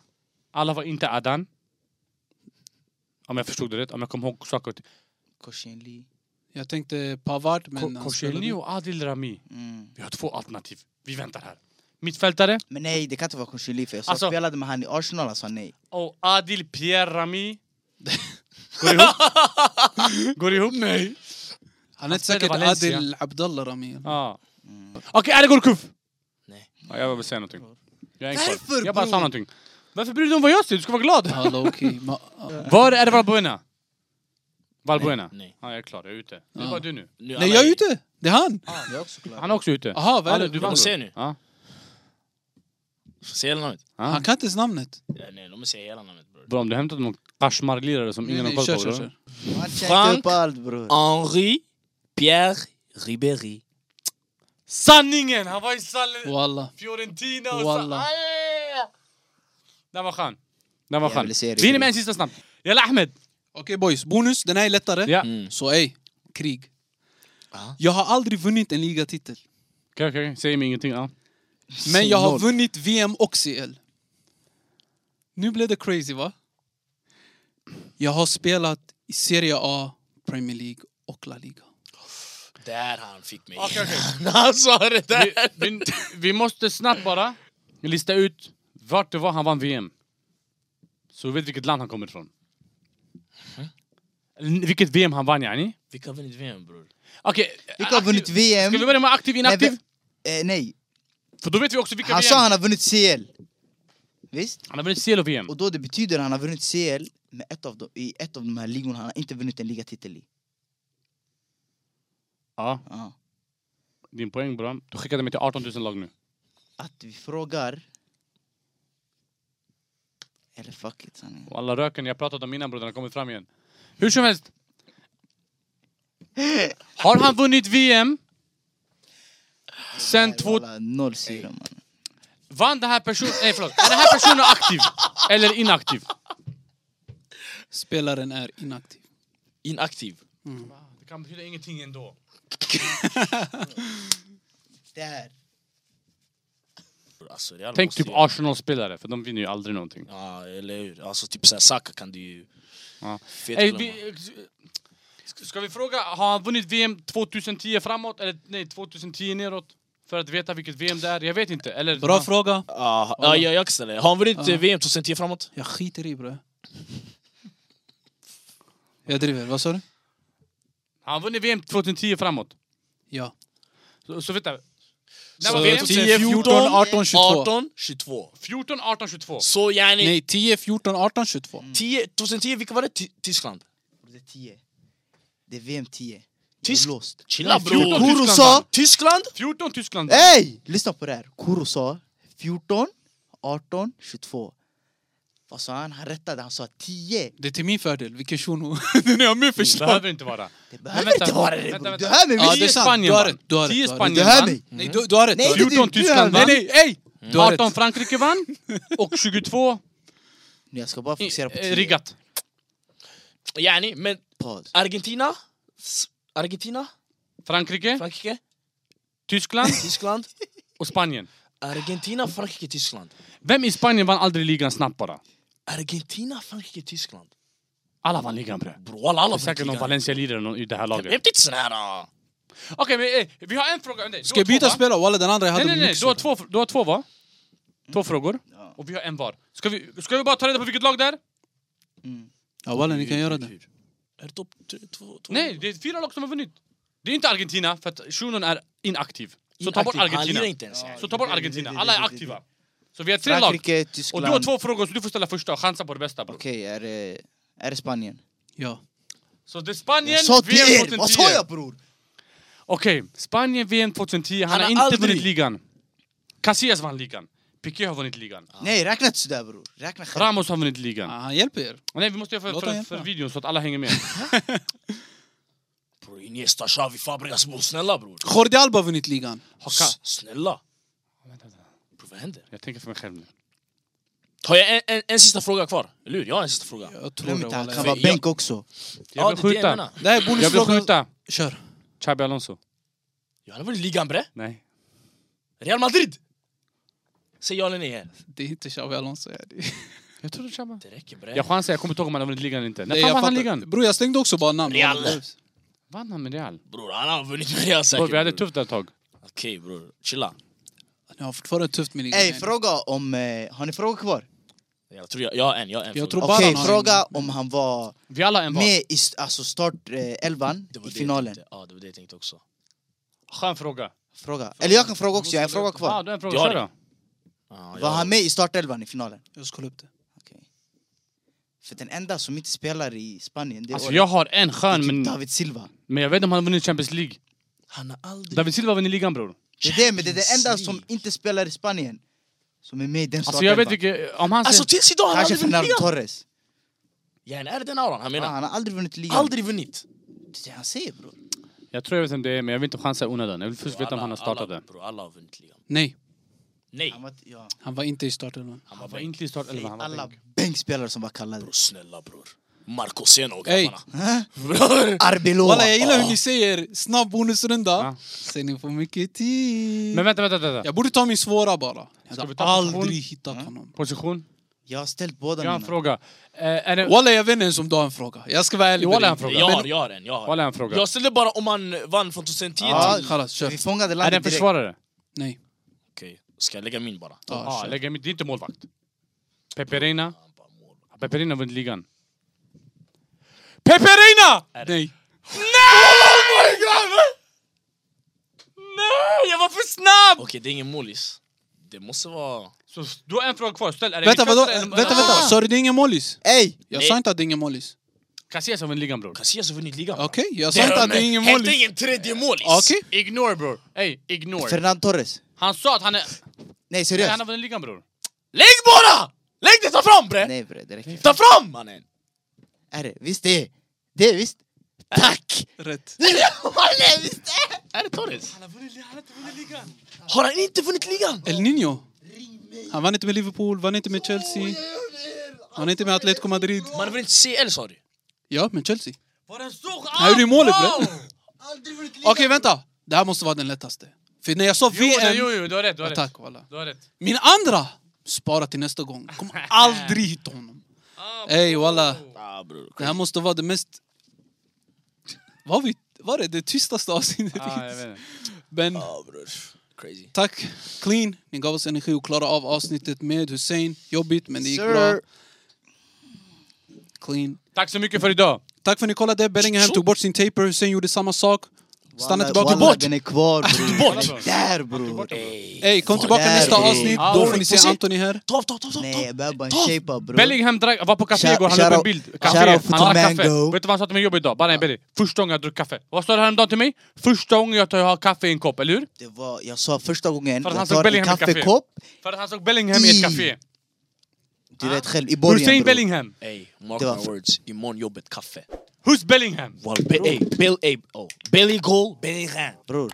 [SPEAKER 2] Alla var inte Adan. Om jag förstod det rätt. Om jag kommer ihåg saker. och ting.
[SPEAKER 3] Koshinli.
[SPEAKER 1] Jag tänkte Pavard, men...
[SPEAKER 2] Ko-
[SPEAKER 1] han spelade-
[SPEAKER 2] Koscielny och Adil Rami.
[SPEAKER 3] Mm.
[SPEAKER 2] Vi har två alternativ. Vi väntar här. Mittfältare.
[SPEAKER 3] Men nej, det kan inte vara Koshinli för jag sa
[SPEAKER 2] Alltså-
[SPEAKER 3] spelade med han i Arsenal, han sa nej.
[SPEAKER 2] Och Adil Pierre Rami. Går ihop? Går ihop? Nej.
[SPEAKER 1] Han är
[SPEAKER 2] spelade
[SPEAKER 1] säkert
[SPEAKER 2] Valencia.
[SPEAKER 1] Adil Abdallah Rami. eller?
[SPEAKER 2] Ja. Okej, är det Gorkuf?
[SPEAKER 4] Nej.
[SPEAKER 2] Mm. Ja, jag vill säga någonting. Jag är en
[SPEAKER 3] Varför,
[SPEAKER 2] kvar. Jag bara sa
[SPEAKER 3] bror?
[SPEAKER 2] någonting. Varför bryr du dig om vad jag säger? Du ska vara glad.
[SPEAKER 1] Ja, low-key. Ma- ja.
[SPEAKER 2] Var är det Valbuena? Valbuena?
[SPEAKER 4] Nej.
[SPEAKER 2] Ja, jag är klar. Jag är ute. Det är
[SPEAKER 1] Ja.
[SPEAKER 2] bara du nu.
[SPEAKER 4] Nu,
[SPEAKER 1] Nej,
[SPEAKER 4] alla
[SPEAKER 1] jag är ute! Det är han!
[SPEAKER 3] Jag Ah, är också klar.
[SPEAKER 2] Han är också ute.
[SPEAKER 1] Jaha, vad är
[SPEAKER 2] Alla,
[SPEAKER 1] det?
[SPEAKER 2] du
[SPEAKER 4] Vi får
[SPEAKER 2] vann.
[SPEAKER 4] se
[SPEAKER 2] bror.
[SPEAKER 4] nu.
[SPEAKER 2] Ja.
[SPEAKER 4] Säg hela namnet.
[SPEAKER 1] Han kan inte ens namnet.
[SPEAKER 4] Ja, nej, låt mig säga hela namnet bror.
[SPEAKER 2] Bra, om du hämtat någon kashmar-lirare som ingen har
[SPEAKER 1] Nej,
[SPEAKER 2] koll
[SPEAKER 1] kör,
[SPEAKER 2] på.
[SPEAKER 1] kör,
[SPEAKER 2] bror.
[SPEAKER 1] kör.
[SPEAKER 3] Han käkar
[SPEAKER 4] Frank- Ah,
[SPEAKER 3] upp allt bror.
[SPEAKER 4] Henri Pierre Ribéry.
[SPEAKER 2] Sanningen! Han var i Sal-
[SPEAKER 1] Walla.
[SPEAKER 2] Fiorentina och
[SPEAKER 1] Walla.
[SPEAKER 2] så... Den var skön. Den var
[SPEAKER 3] Jag
[SPEAKER 2] skön.
[SPEAKER 3] vill se det.
[SPEAKER 2] Vi hinner med en sista snabb. Jalla Ahmed!
[SPEAKER 1] Okej boys, bonus. Den här är lättare.
[SPEAKER 2] Ja.
[SPEAKER 4] Mm.
[SPEAKER 1] Så ey, krig.
[SPEAKER 4] Ja.
[SPEAKER 1] Jag har aldrig vunnit en ligatitel.
[SPEAKER 2] Okej, okej. Säg mig ingenting. Ja.
[SPEAKER 1] Men jag har
[SPEAKER 3] noll.
[SPEAKER 1] vunnit VM och CL. Nu blev det crazy va? Jag har spelat i Serie A, Premier League och La Liga.
[SPEAKER 4] Där han fick mig.
[SPEAKER 2] Okej, okej.
[SPEAKER 4] han sa det
[SPEAKER 2] vi,
[SPEAKER 4] där!
[SPEAKER 2] vi, vi måste snabbt bara lista ut vart det var han vann VM. Så vi vet vilket land han kommer ifrån. Eller Vilket VM han vann yani.
[SPEAKER 4] Vilka har vunnit VM bror?
[SPEAKER 2] Okej,
[SPEAKER 3] Vilka har
[SPEAKER 2] aktiv-
[SPEAKER 3] vunnit VM?
[SPEAKER 2] Ska vi börja med aktiv inaktiv?
[SPEAKER 3] Nej, vi- eh, nej.
[SPEAKER 2] För då vet vi också vilka
[SPEAKER 3] han
[SPEAKER 2] VM.
[SPEAKER 3] sa han har vunnit CL. Visst?
[SPEAKER 2] Han har vunnit CL och VM.
[SPEAKER 3] Och då det betyder han har vunnit CL med ett av de, i ett av de här ligorna han har inte vunnit en ligatitel i.
[SPEAKER 2] Ja,
[SPEAKER 3] Ja.
[SPEAKER 2] din poäng bra. Du skickade mig till 18 000 lag nu.
[SPEAKER 3] Att vi frågar... Eller fuck it sanningen.
[SPEAKER 2] Och alla röken jag pratat om innan bror, den har kommit fram igen. Hur som helst. Har han vunnit VM? Sen
[SPEAKER 3] Nej,
[SPEAKER 2] två,
[SPEAKER 3] walla, Noll syra man.
[SPEAKER 2] Vann den här personen... Nej förlåt. Är den här personen aktiv? Eller inaktiv?
[SPEAKER 1] Spelaren är inaktiv.
[SPEAKER 4] Inaktiv.
[SPEAKER 2] Det kan betyda ingenting ändå.
[SPEAKER 3] Där.
[SPEAKER 4] Bror, Alltså, Real
[SPEAKER 2] Tänk
[SPEAKER 4] måste
[SPEAKER 2] typ
[SPEAKER 4] ju-
[SPEAKER 2] Arsenal-spelare, för de vinner ju aldrig någonting.
[SPEAKER 4] Ja, eller hur? Alltså typ såhär Saka kan du ju...
[SPEAKER 2] Ja.
[SPEAKER 4] Fet
[SPEAKER 2] Ey,
[SPEAKER 4] glömma.
[SPEAKER 2] vi, ska vi fråga, har han vunnit VM 2010 framåt eller nej, 2010 neråt? För att veta vilket VM det är? Jag vet inte. Eller,
[SPEAKER 1] Bra fråga.
[SPEAKER 4] Ja, ja, jag, jag kan ställa det. Har han vunnit
[SPEAKER 1] Ja.
[SPEAKER 4] eh, VM 2010 framåt?
[SPEAKER 1] Jag skiter i bre. Jag driver. Vad sa du?
[SPEAKER 2] Han vunnit VM 2010 framåt.
[SPEAKER 1] Ja.
[SPEAKER 2] Så, så vänta. När
[SPEAKER 4] Så
[SPEAKER 2] var VM?
[SPEAKER 1] 10, 14, 18, 22.
[SPEAKER 4] 18, 22.
[SPEAKER 2] 14, 18, 22.
[SPEAKER 4] Så yani,
[SPEAKER 1] Nej, 10, 14, 18, 22.
[SPEAKER 4] 10, 2010, vilka var det? Ty- Tyskland?
[SPEAKER 3] Det är 10. Det är VM 10.
[SPEAKER 4] Tysk-
[SPEAKER 3] Jag är låst.
[SPEAKER 4] Chilla
[SPEAKER 2] Nej, 14
[SPEAKER 4] bror!
[SPEAKER 3] Kuro
[SPEAKER 2] Tyskland
[SPEAKER 3] sa...
[SPEAKER 2] vann.
[SPEAKER 4] Tyskland?
[SPEAKER 2] 14 Tyskland.
[SPEAKER 3] Ey! Lyssna på det här. Kuro sa 14, 18, 22. Vad sa han? Han rättade. Han sa 10.
[SPEAKER 1] Det är till min fördel. Vilken shuno. Den är min
[SPEAKER 2] Det
[SPEAKER 1] förslag.
[SPEAKER 2] behöver inte vara.
[SPEAKER 3] Det
[SPEAKER 2] Men
[SPEAKER 3] behöver
[SPEAKER 2] vänta,
[SPEAKER 3] inte vara det.
[SPEAKER 2] vänta,
[SPEAKER 3] bror.
[SPEAKER 2] vänta.
[SPEAKER 3] Du hör mig
[SPEAKER 1] Ja,
[SPEAKER 3] visst!
[SPEAKER 1] det är
[SPEAKER 2] Tio
[SPEAKER 1] sant.
[SPEAKER 2] Spanien
[SPEAKER 1] Du har
[SPEAKER 2] vann.
[SPEAKER 1] rätt. Du har rätt.
[SPEAKER 2] Tio
[SPEAKER 1] Du har rätt.
[SPEAKER 2] Spanien
[SPEAKER 3] Du hör
[SPEAKER 2] vann.
[SPEAKER 3] mig!
[SPEAKER 1] Nej, du, du har rätt. Du
[SPEAKER 3] Nej,
[SPEAKER 1] har
[SPEAKER 3] det är
[SPEAKER 1] rätt.
[SPEAKER 3] du.
[SPEAKER 2] 14 Tyskland
[SPEAKER 1] Nej,
[SPEAKER 2] vann.
[SPEAKER 1] nej, ey! Du har
[SPEAKER 2] 18
[SPEAKER 1] rätt.
[SPEAKER 2] Frankrike vann. Och 22
[SPEAKER 3] Nu, Jag ska bara fokusera på
[SPEAKER 2] eh,
[SPEAKER 3] 10.
[SPEAKER 2] riggat.
[SPEAKER 4] Yani, men
[SPEAKER 3] Paus.
[SPEAKER 4] Argentina? S- Argentina?
[SPEAKER 2] Frankrike,
[SPEAKER 4] Frankrike?
[SPEAKER 2] Tyskland
[SPEAKER 4] Tyskland?
[SPEAKER 2] och Spanien.
[SPEAKER 4] Argentina, Frankrike, Tyskland.
[SPEAKER 2] Vem i Spanien vann aldrig ligan snabbt bara?
[SPEAKER 4] Argentina, Frankrike, Tyskland.
[SPEAKER 2] Alla vann ligan bre.
[SPEAKER 4] Bror walla alla
[SPEAKER 2] Det är säkert någon Valencia-lirare i det här
[SPEAKER 4] Jag
[SPEAKER 2] laget.
[SPEAKER 4] vet inte sån här... ah.
[SPEAKER 2] Okej, men eh, vi har en fråga om dig. Du
[SPEAKER 1] Ska
[SPEAKER 2] har
[SPEAKER 1] jag
[SPEAKER 2] två,
[SPEAKER 1] byta
[SPEAKER 2] va?
[SPEAKER 1] spelare? Walla, den andra jag hade
[SPEAKER 2] Nej, nej, nej.
[SPEAKER 1] mycket
[SPEAKER 2] Du har
[SPEAKER 1] svårt.
[SPEAKER 2] två, du har två va? Två frågor. Och vi har en var. Ska vi, ska vi bara ta reda på vilket lag det är?
[SPEAKER 1] Ja, walla, ni kan göra det.
[SPEAKER 4] Är det topp tre- två? två-
[SPEAKER 2] Nej, det är fyra lag som har vunnit. Det är inte Argentina, för att shunon är inaktiv. Så ta bort
[SPEAKER 4] Inaktiv. Han lirar
[SPEAKER 2] Argentina.
[SPEAKER 4] inte ens. yani.
[SPEAKER 2] Så ta bort
[SPEAKER 3] Det- det- det-
[SPEAKER 2] Argentina.
[SPEAKER 3] det-
[SPEAKER 2] Alla är
[SPEAKER 3] det- det-
[SPEAKER 2] aktiva. Så vi har tre lag.
[SPEAKER 3] Frankrike,
[SPEAKER 2] Och
[SPEAKER 3] Tyskland.
[SPEAKER 2] du har två frågor, så du får ställa första och chansa på det bästa bror.
[SPEAKER 3] Okej, är det... Är det Spanien?
[SPEAKER 1] Ja.
[SPEAKER 2] Så det är Spanien,
[SPEAKER 3] Jag sa till
[SPEAKER 2] VM
[SPEAKER 3] er!
[SPEAKER 2] 2010.
[SPEAKER 3] Vad sa jag bror?
[SPEAKER 2] Okej, Spanien VM 2010. Han,
[SPEAKER 4] Han
[SPEAKER 2] har
[SPEAKER 4] har
[SPEAKER 2] inte
[SPEAKER 4] aldrig-
[SPEAKER 2] vunnit ligan. Casillas vann ligan. Piqué har vunnit ligan.
[SPEAKER 3] Nej, räkna inte sådär bror. Räkna själv.
[SPEAKER 2] Ramos har vunnit ligan.
[SPEAKER 1] Ah, Han hjälper er.
[SPEAKER 2] Nej, vi måste göra för,
[SPEAKER 1] Låt
[SPEAKER 2] för,
[SPEAKER 1] honom
[SPEAKER 2] för
[SPEAKER 1] hjälpa.
[SPEAKER 2] videon så att alla hänger med.
[SPEAKER 4] Bror Iniesta, Xavi, Fabregas bror. Snälla bror.
[SPEAKER 1] Jordi Alba har vunnit ligan.
[SPEAKER 2] Har Ka-
[SPEAKER 4] S- Snälla. Bror vad händer?
[SPEAKER 2] Jag tänker för mig själv nu.
[SPEAKER 4] Har jag en, en, en sista fråga kvar? Eller hur? Jag har en sista fråga.
[SPEAKER 1] Jag tror
[SPEAKER 3] Glöm
[SPEAKER 1] det.
[SPEAKER 3] inte, han
[SPEAKER 1] walla.
[SPEAKER 3] kan
[SPEAKER 1] Jag-
[SPEAKER 3] vara
[SPEAKER 4] jag-
[SPEAKER 3] bänk också.
[SPEAKER 2] Jag vill
[SPEAKER 4] det är det jag
[SPEAKER 2] skjuta.
[SPEAKER 4] menar.
[SPEAKER 1] Det här är
[SPEAKER 2] Jag vill
[SPEAKER 1] bonusfrågan.
[SPEAKER 2] skjuta.
[SPEAKER 1] Kör.
[SPEAKER 2] Xabi Alonso.
[SPEAKER 4] Ja, Han har vunnit ligan bre.
[SPEAKER 2] Nej.
[SPEAKER 4] Real Madrid! Säg ja eller nej här.
[SPEAKER 1] Det är inte Xabi Alonso. ja, det-
[SPEAKER 2] Jag trodde Xabi.
[SPEAKER 4] Det räcker bre.
[SPEAKER 2] Jag chansar, jag kommer inte ihåg om han har vunnit ligan eller inte. När
[SPEAKER 1] Nej,
[SPEAKER 2] fan
[SPEAKER 1] jag
[SPEAKER 2] vann han
[SPEAKER 1] fattar.
[SPEAKER 2] ligan?
[SPEAKER 1] Bror, jag slängde också bara namn.
[SPEAKER 4] Real.
[SPEAKER 2] Vann han med Real?
[SPEAKER 4] Bror han har vunnit med Real
[SPEAKER 2] Bror,
[SPEAKER 4] säkert.
[SPEAKER 2] vi hade
[SPEAKER 4] bror.
[SPEAKER 2] tufft ett tag.
[SPEAKER 4] Okej bror, chilla.
[SPEAKER 1] Jag har fortfarande tufft med ligan.
[SPEAKER 3] Ey, fråga om... Eh, har ni frågor kvar?
[SPEAKER 4] Jag tror jag, jag har en, jag har en
[SPEAKER 1] Jag
[SPEAKER 4] fråga.
[SPEAKER 1] tror bara
[SPEAKER 3] Okej,
[SPEAKER 1] han har
[SPEAKER 3] fråga
[SPEAKER 1] en-
[SPEAKER 3] om han var
[SPEAKER 2] Vi alla en var.
[SPEAKER 3] med i st- alltså startelvan
[SPEAKER 4] Det var
[SPEAKER 3] i
[SPEAKER 4] det jag
[SPEAKER 3] finalen.
[SPEAKER 4] tänkte. Ja, det var det jag tänkte också.
[SPEAKER 2] Skön fråga.
[SPEAKER 3] Fråga. Eller jag kan fråga också, jag har en fråga
[SPEAKER 2] Ja,
[SPEAKER 3] kvar.
[SPEAKER 2] du har en fråga.
[SPEAKER 4] Jag har
[SPEAKER 2] Kör då.
[SPEAKER 4] Ja,
[SPEAKER 3] Var
[SPEAKER 4] jag-
[SPEAKER 3] han med i startelvan i finalen?
[SPEAKER 1] Jag ska kolla upp det.
[SPEAKER 3] Okej. För den enda som inte spelar i Spanien, det är,
[SPEAKER 2] Alltså
[SPEAKER 3] året.
[SPEAKER 2] jag har en
[SPEAKER 3] det är
[SPEAKER 2] skön,
[SPEAKER 3] typ
[SPEAKER 2] men,
[SPEAKER 3] David Silva.
[SPEAKER 2] men jag vet inte om han har vunnit Champions League.
[SPEAKER 4] Han har aldrig...
[SPEAKER 2] David Silva vann i ligan bror.
[SPEAKER 3] Det är det, men det är den enda
[SPEAKER 4] Champions
[SPEAKER 3] som
[SPEAKER 4] League.
[SPEAKER 3] inte spelar i Spanien som är med i den
[SPEAKER 2] Alltså jag
[SPEAKER 3] startelvan.
[SPEAKER 2] vet vilken... Om han
[SPEAKER 4] Alltså
[SPEAKER 2] ser...
[SPEAKER 4] tills idag har han
[SPEAKER 3] Kanske
[SPEAKER 4] aldrig vunnit
[SPEAKER 3] Fernando
[SPEAKER 4] ligan!
[SPEAKER 3] Torres.
[SPEAKER 4] Yani är det den auran han
[SPEAKER 3] Ja,
[SPEAKER 4] menar?
[SPEAKER 3] han har aldrig vunnit ligan.
[SPEAKER 4] Aldrig vunnit!
[SPEAKER 3] Det är det han säger bror.
[SPEAKER 2] Jag tror jag vet vem det är, men jag vill inte chansa i onödan. Jag vill först veta om han har startat
[SPEAKER 4] alla,
[SPEAKER 2] det.
[SPEAKER 4] Bro, alla har vunnit ligan.
[SPEAKER 1] Nej,
[SPEAKER 4] Nej!
[SPEAKER 3] Han var, ja.
[SPEAKER 1] han var inte i startelvan.
[SPEAKER 2] Han
[SPEAKER 4] Han var
[SPEAKER 2] var
[SPEAKER 4] bänk.
[SPEAKER 2] inte i startelvan, han var
[SPEAKER 3] Alla
[SPEAKER 2] bänk.
[SPEAKER 3] bänkspelare som var kallade.
[SPEAKER 4] Bror snälla bror. Marco Sena och
[SPEAKER 1] Ey.
[SPEAKER 4] grabbarna.
[SPEAKER 3] Hä?
[SPEAKER 4] Bror!
[SPEAKER 3] Arbeloa.
[SPEAKER 1] Walla, jag gillar hur ni säger snabb bonusrunda.
[SPEAKER 2] Ja.
[SPEAKER 1] Sen ni får mycket tid.
[SPEAKER 2] Men vänta, vänta, vänta.
[SPEAKER 1] Jag borde ta min svåra bara. Jag
[SPEAKER 2] Ska vi
[SPEAKER 1] hade
[SPEAKER 2] ta
[SPEAKER 1] aldrig
[SPEAKER 2] position?
[SPEAKER 1] hittat honom.
[SPEAKER 2] Position?
[SPEAKER 3] Jag har ställt båda
[SPEAKER 2] Jag har en
[SPEAKER 3] mina.
[SPEAKER 2] fråga. Eh, är det...
[SPEAKER 1] Walla, jag vet inte ens om du har en fråga. Jag ska vara ärlig
[SPEAKER 2] Jo,
[SPEAKER 1] med
[SPEAKER 2] walla,
[SPEAKER 1] dig.
[SPEAKER 2] en fråga.
[SPEAKER 4] Jag har,
[SPEAKER 2] Men-
[SPEAKER 4] jag har en, jag har
[SPEAKER 2] Walla
[SPEAKER 4] en.
[SPEAKER 2] en fråga.
[SPEAKER 4] Jag ställde bara om han vann från 2010
[SPEAKER 3] Ja.
[SPEAKER 4] till...
[SPEAKER 1] Kallas, kör.
[SPEAKER 3] Vi fångade
[SPEAKER 2] Är det
[SPEAKER 3] landet
[SPEAKER 2] en
[SPEAKER 3] direkt.
[SPEAKER 2] försvarare?
[SPEAKER 1] Nej.
[SPEAKER 4] Okej, ska jag lägga min bara?
[SPEAKER 1] Ja,
[SPEAKER 2] Ja,
[SPEAKER 1] kör.
[SPEAKER 2] lägg in- Det är inte målvakt. Peperina.
[SPEAKER 4] Han bara mål.
[SPEAKER 2] Peperina har vunnit ligan. Peperina!
[SPEAKER 1] Nej.
[SPEAKER 2] Nej, jag var för snabb!
[SPEAKER 4] Okej, det är ingen målis. Det måste vara...
[SPEAKER 2] Så s- du har en fråga kvar, ställ. Är det
[SPEAKER 1] Vänta, vadå?
[SPEAKER 2] mittfältare eller-
[SPEAKER 1] Vänta, vänta. Sa du det är ingen målis?
[SPEAKER 3] Ey!
[SPEAKER 1] Jag
[SPEAKER 4] Nej.
[SPEAKER 1] sa inte att det är ingen målis.
[SPEAKER 2] Alltså, Casillas har vunnit ligan bror.
[SPEAKER 4] Casillas har vunnit ligan. bro.
[SPEAKER 1] Okej, jag sa inte att det är ingen
[SPEAKER 4] Hämta
[SPEAKER 1] målis.
[SPEAKER 4] ingen tredje målis!
[SPEAKER 1] Okej.
[SPEAKER 2] Ignore bror. Ey, ignore.
[SPEAKER 3] Fernando Torres.
[SPEAKER 2] Han sa att han är...
[SPEAKER 3] Nej
[SPEAKER 2] Nej,
[SPEAKER 3] seriöst.
[SPEAKER 2] Han har vunnit ligan bror.
[SPEAKER 4] Lägg bara! Lägg det, ta fram bre!
[SPEAKER 3] Nej bre, det räcker.
[SPEAKER 4] Ta fram mannen!
[SPEAKER 3] Är det? Visst det är? Det är visst? Tack!
[SPEAKER 1] Rätt.
[SPEAKER 3] Mannen, visst det är?
[SPEAKER 4] Är det Torres?
[SPEAKER 2] Han har inte vunnit ligan.
[SPEAKER 4] Har han inte vunnit ligan?
[SPEAKER 1] El Nino. Han vann inte med Liverpool, vann inte med Chelsea. Han är inte med Atletico Madrid.
[SPEAKER 4] Man har vunnit CL sa du?
[SPEAKER 1] Ja, men Chelsea.
[SPEAKER 2] Var den så...
[SPEAKER 1] Han gjorde ju målet bre.
[SPEAKER 3] Aldrig vunnit ligan.
[SPEAKER 1] Okej, vänta. Det här måste vara den lättaste. För när jag sa
[SPEAKER 2] Jo, nej, jo,
[SPEAKER 1] VM...
[SPEAKER 2] jo, du har rätt. Du
[SPEAKER 1] Ja,
[SPEAKER 2] har rätt.
[SPEAKER 1] tack, walla.
[SPEAKER 2] Du har rätt.
[SPEAKER 1] Min andra! Spara till nästa gång. Kommer aldrig hitta honom. Ey, walla.
[SPEAKER 4] Ah bror.
[SPEAKER 1] Det här måste vara det mest... Var, vi, var det det tystaste avsnittet?
[SPEAKER 2] Ah, jag vet inte.
[SPEAKER 1] Men
[SPEAKER 4] Ah bror. Crazy.
[SPEAKER 1] Tack Clean, ni gav oss energi att klara av avsnittet med Hussein. Jobbigt men det gick
[SPEAKER 3] Sir.
[SPEAKER 1] bra. Clean.
[SPEAKER 2] Tack så mycket för idag!
[SPEAKER 1] Tack för att ni kollade. Bellingham tog bort sin taper, Hussein gjorde samma sak. Stanna
[SPEAKER 3] Wallah-
[SPEAKER 1] tillbaka.
[SPEAKER 3] wallah,
[SPEAKER 1] Bort!
[SPEAKER 3] Den är kvar bror.
[SPEAKER 4] bort.
[SPEAKER 3] Den är Där bror.
[SPEAKER 4] Ey,
[SPEAKER 1] Ey, kom
[SPEAKER 4] vad
[SPEAKER 1] tillbaka
[SPEAKER 4] är
[SPEAKER 1] nästa
[SPEAKER 4] det?
[SPEAKER 1] avsnitt.
[SPEAKER 2] Ja,
[SPEAKER 1] Då
[SPEAKER 2] bror,
[SPEAKER 1] får ni
[SPEAKER 4] på
[SPEAKER 1] se
[SPEAKER 4] sitt.
[SPEAKER 1] Antoni här.
[SPEAKER 4] Ta, ta, ta, ta,
[SPEAKER 3] Nej jag
[SPEAKER 4] ta.
[SPEAKER 3] behöver bara en
[SPEAKER 4] Ta.
[SPEAKER 3] shape-up bror.
[SPEAKER 2] Bellingham drack, var på café igår, han
[SPEAKER 3] Shout-
[SPEAKER 2] la upp en
[SPEAKER 3] shout-
[SPEAKER 2] bild.
[SPEAKER 3] shout
[SPEAKER 2] Café,
[SPEAKER 3] out
[SPEAKER 2] han drack
[SPEAKER 3] to
[SPEAKER 2] kaffe.
[SPEAKER 3] Mango.
[SPEAKER 2] Vet du vad han sa till mig i jobbet idag? Bara jag ber dig, första gången jag drack kaffe. Vad sa du häromdagen till mig? Första gången jag tar jag har kaffe i en kopp, eller hur?
[SPEAKER 3] Det var, jag sa första gången,
[SPEAKER 2] För att han
[SPEAKER 3] jag
[SPEAKER 2] såg
[SPEAKER 3] tar en
[SPEAKER 2] Bellingham i café.
[SPEAKER 3] kaffekopp,
[SPEAKER 2] För att han såg Bellingham i ett
[SPEAKER 3] I
[SPEAKER 2] café.
[SPEAKER 3] du vet själv, i
[SPEAKER 2] Hussein
[SPEAKER 3] början bror.
[SPEAKER 2] Bellingham!
[SPEAKER 4] Ey, mark
[SPEAKER 3] Det var
[SPEAKER 4] my
[SPEAKER 3] för-
[SPEAKER 4] words. Imorgon jobbet, kaffe.
[SPEAKER 2] Who's Bellingham?
[SPEAKER 4] Well, be, ey, Bill, ey, oh. Billy Goal, Billy Ram.
[SPEAKER 3] Bror,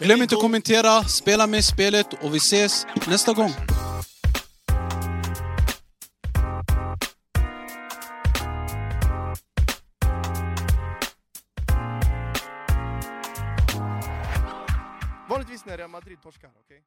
[SPEAKER 1] Glöm inte att kommentera, spela med spelet och vi ses nästa gång.
[SPEAKER 5] Vanligtvis när Real Madrid torskar, okej?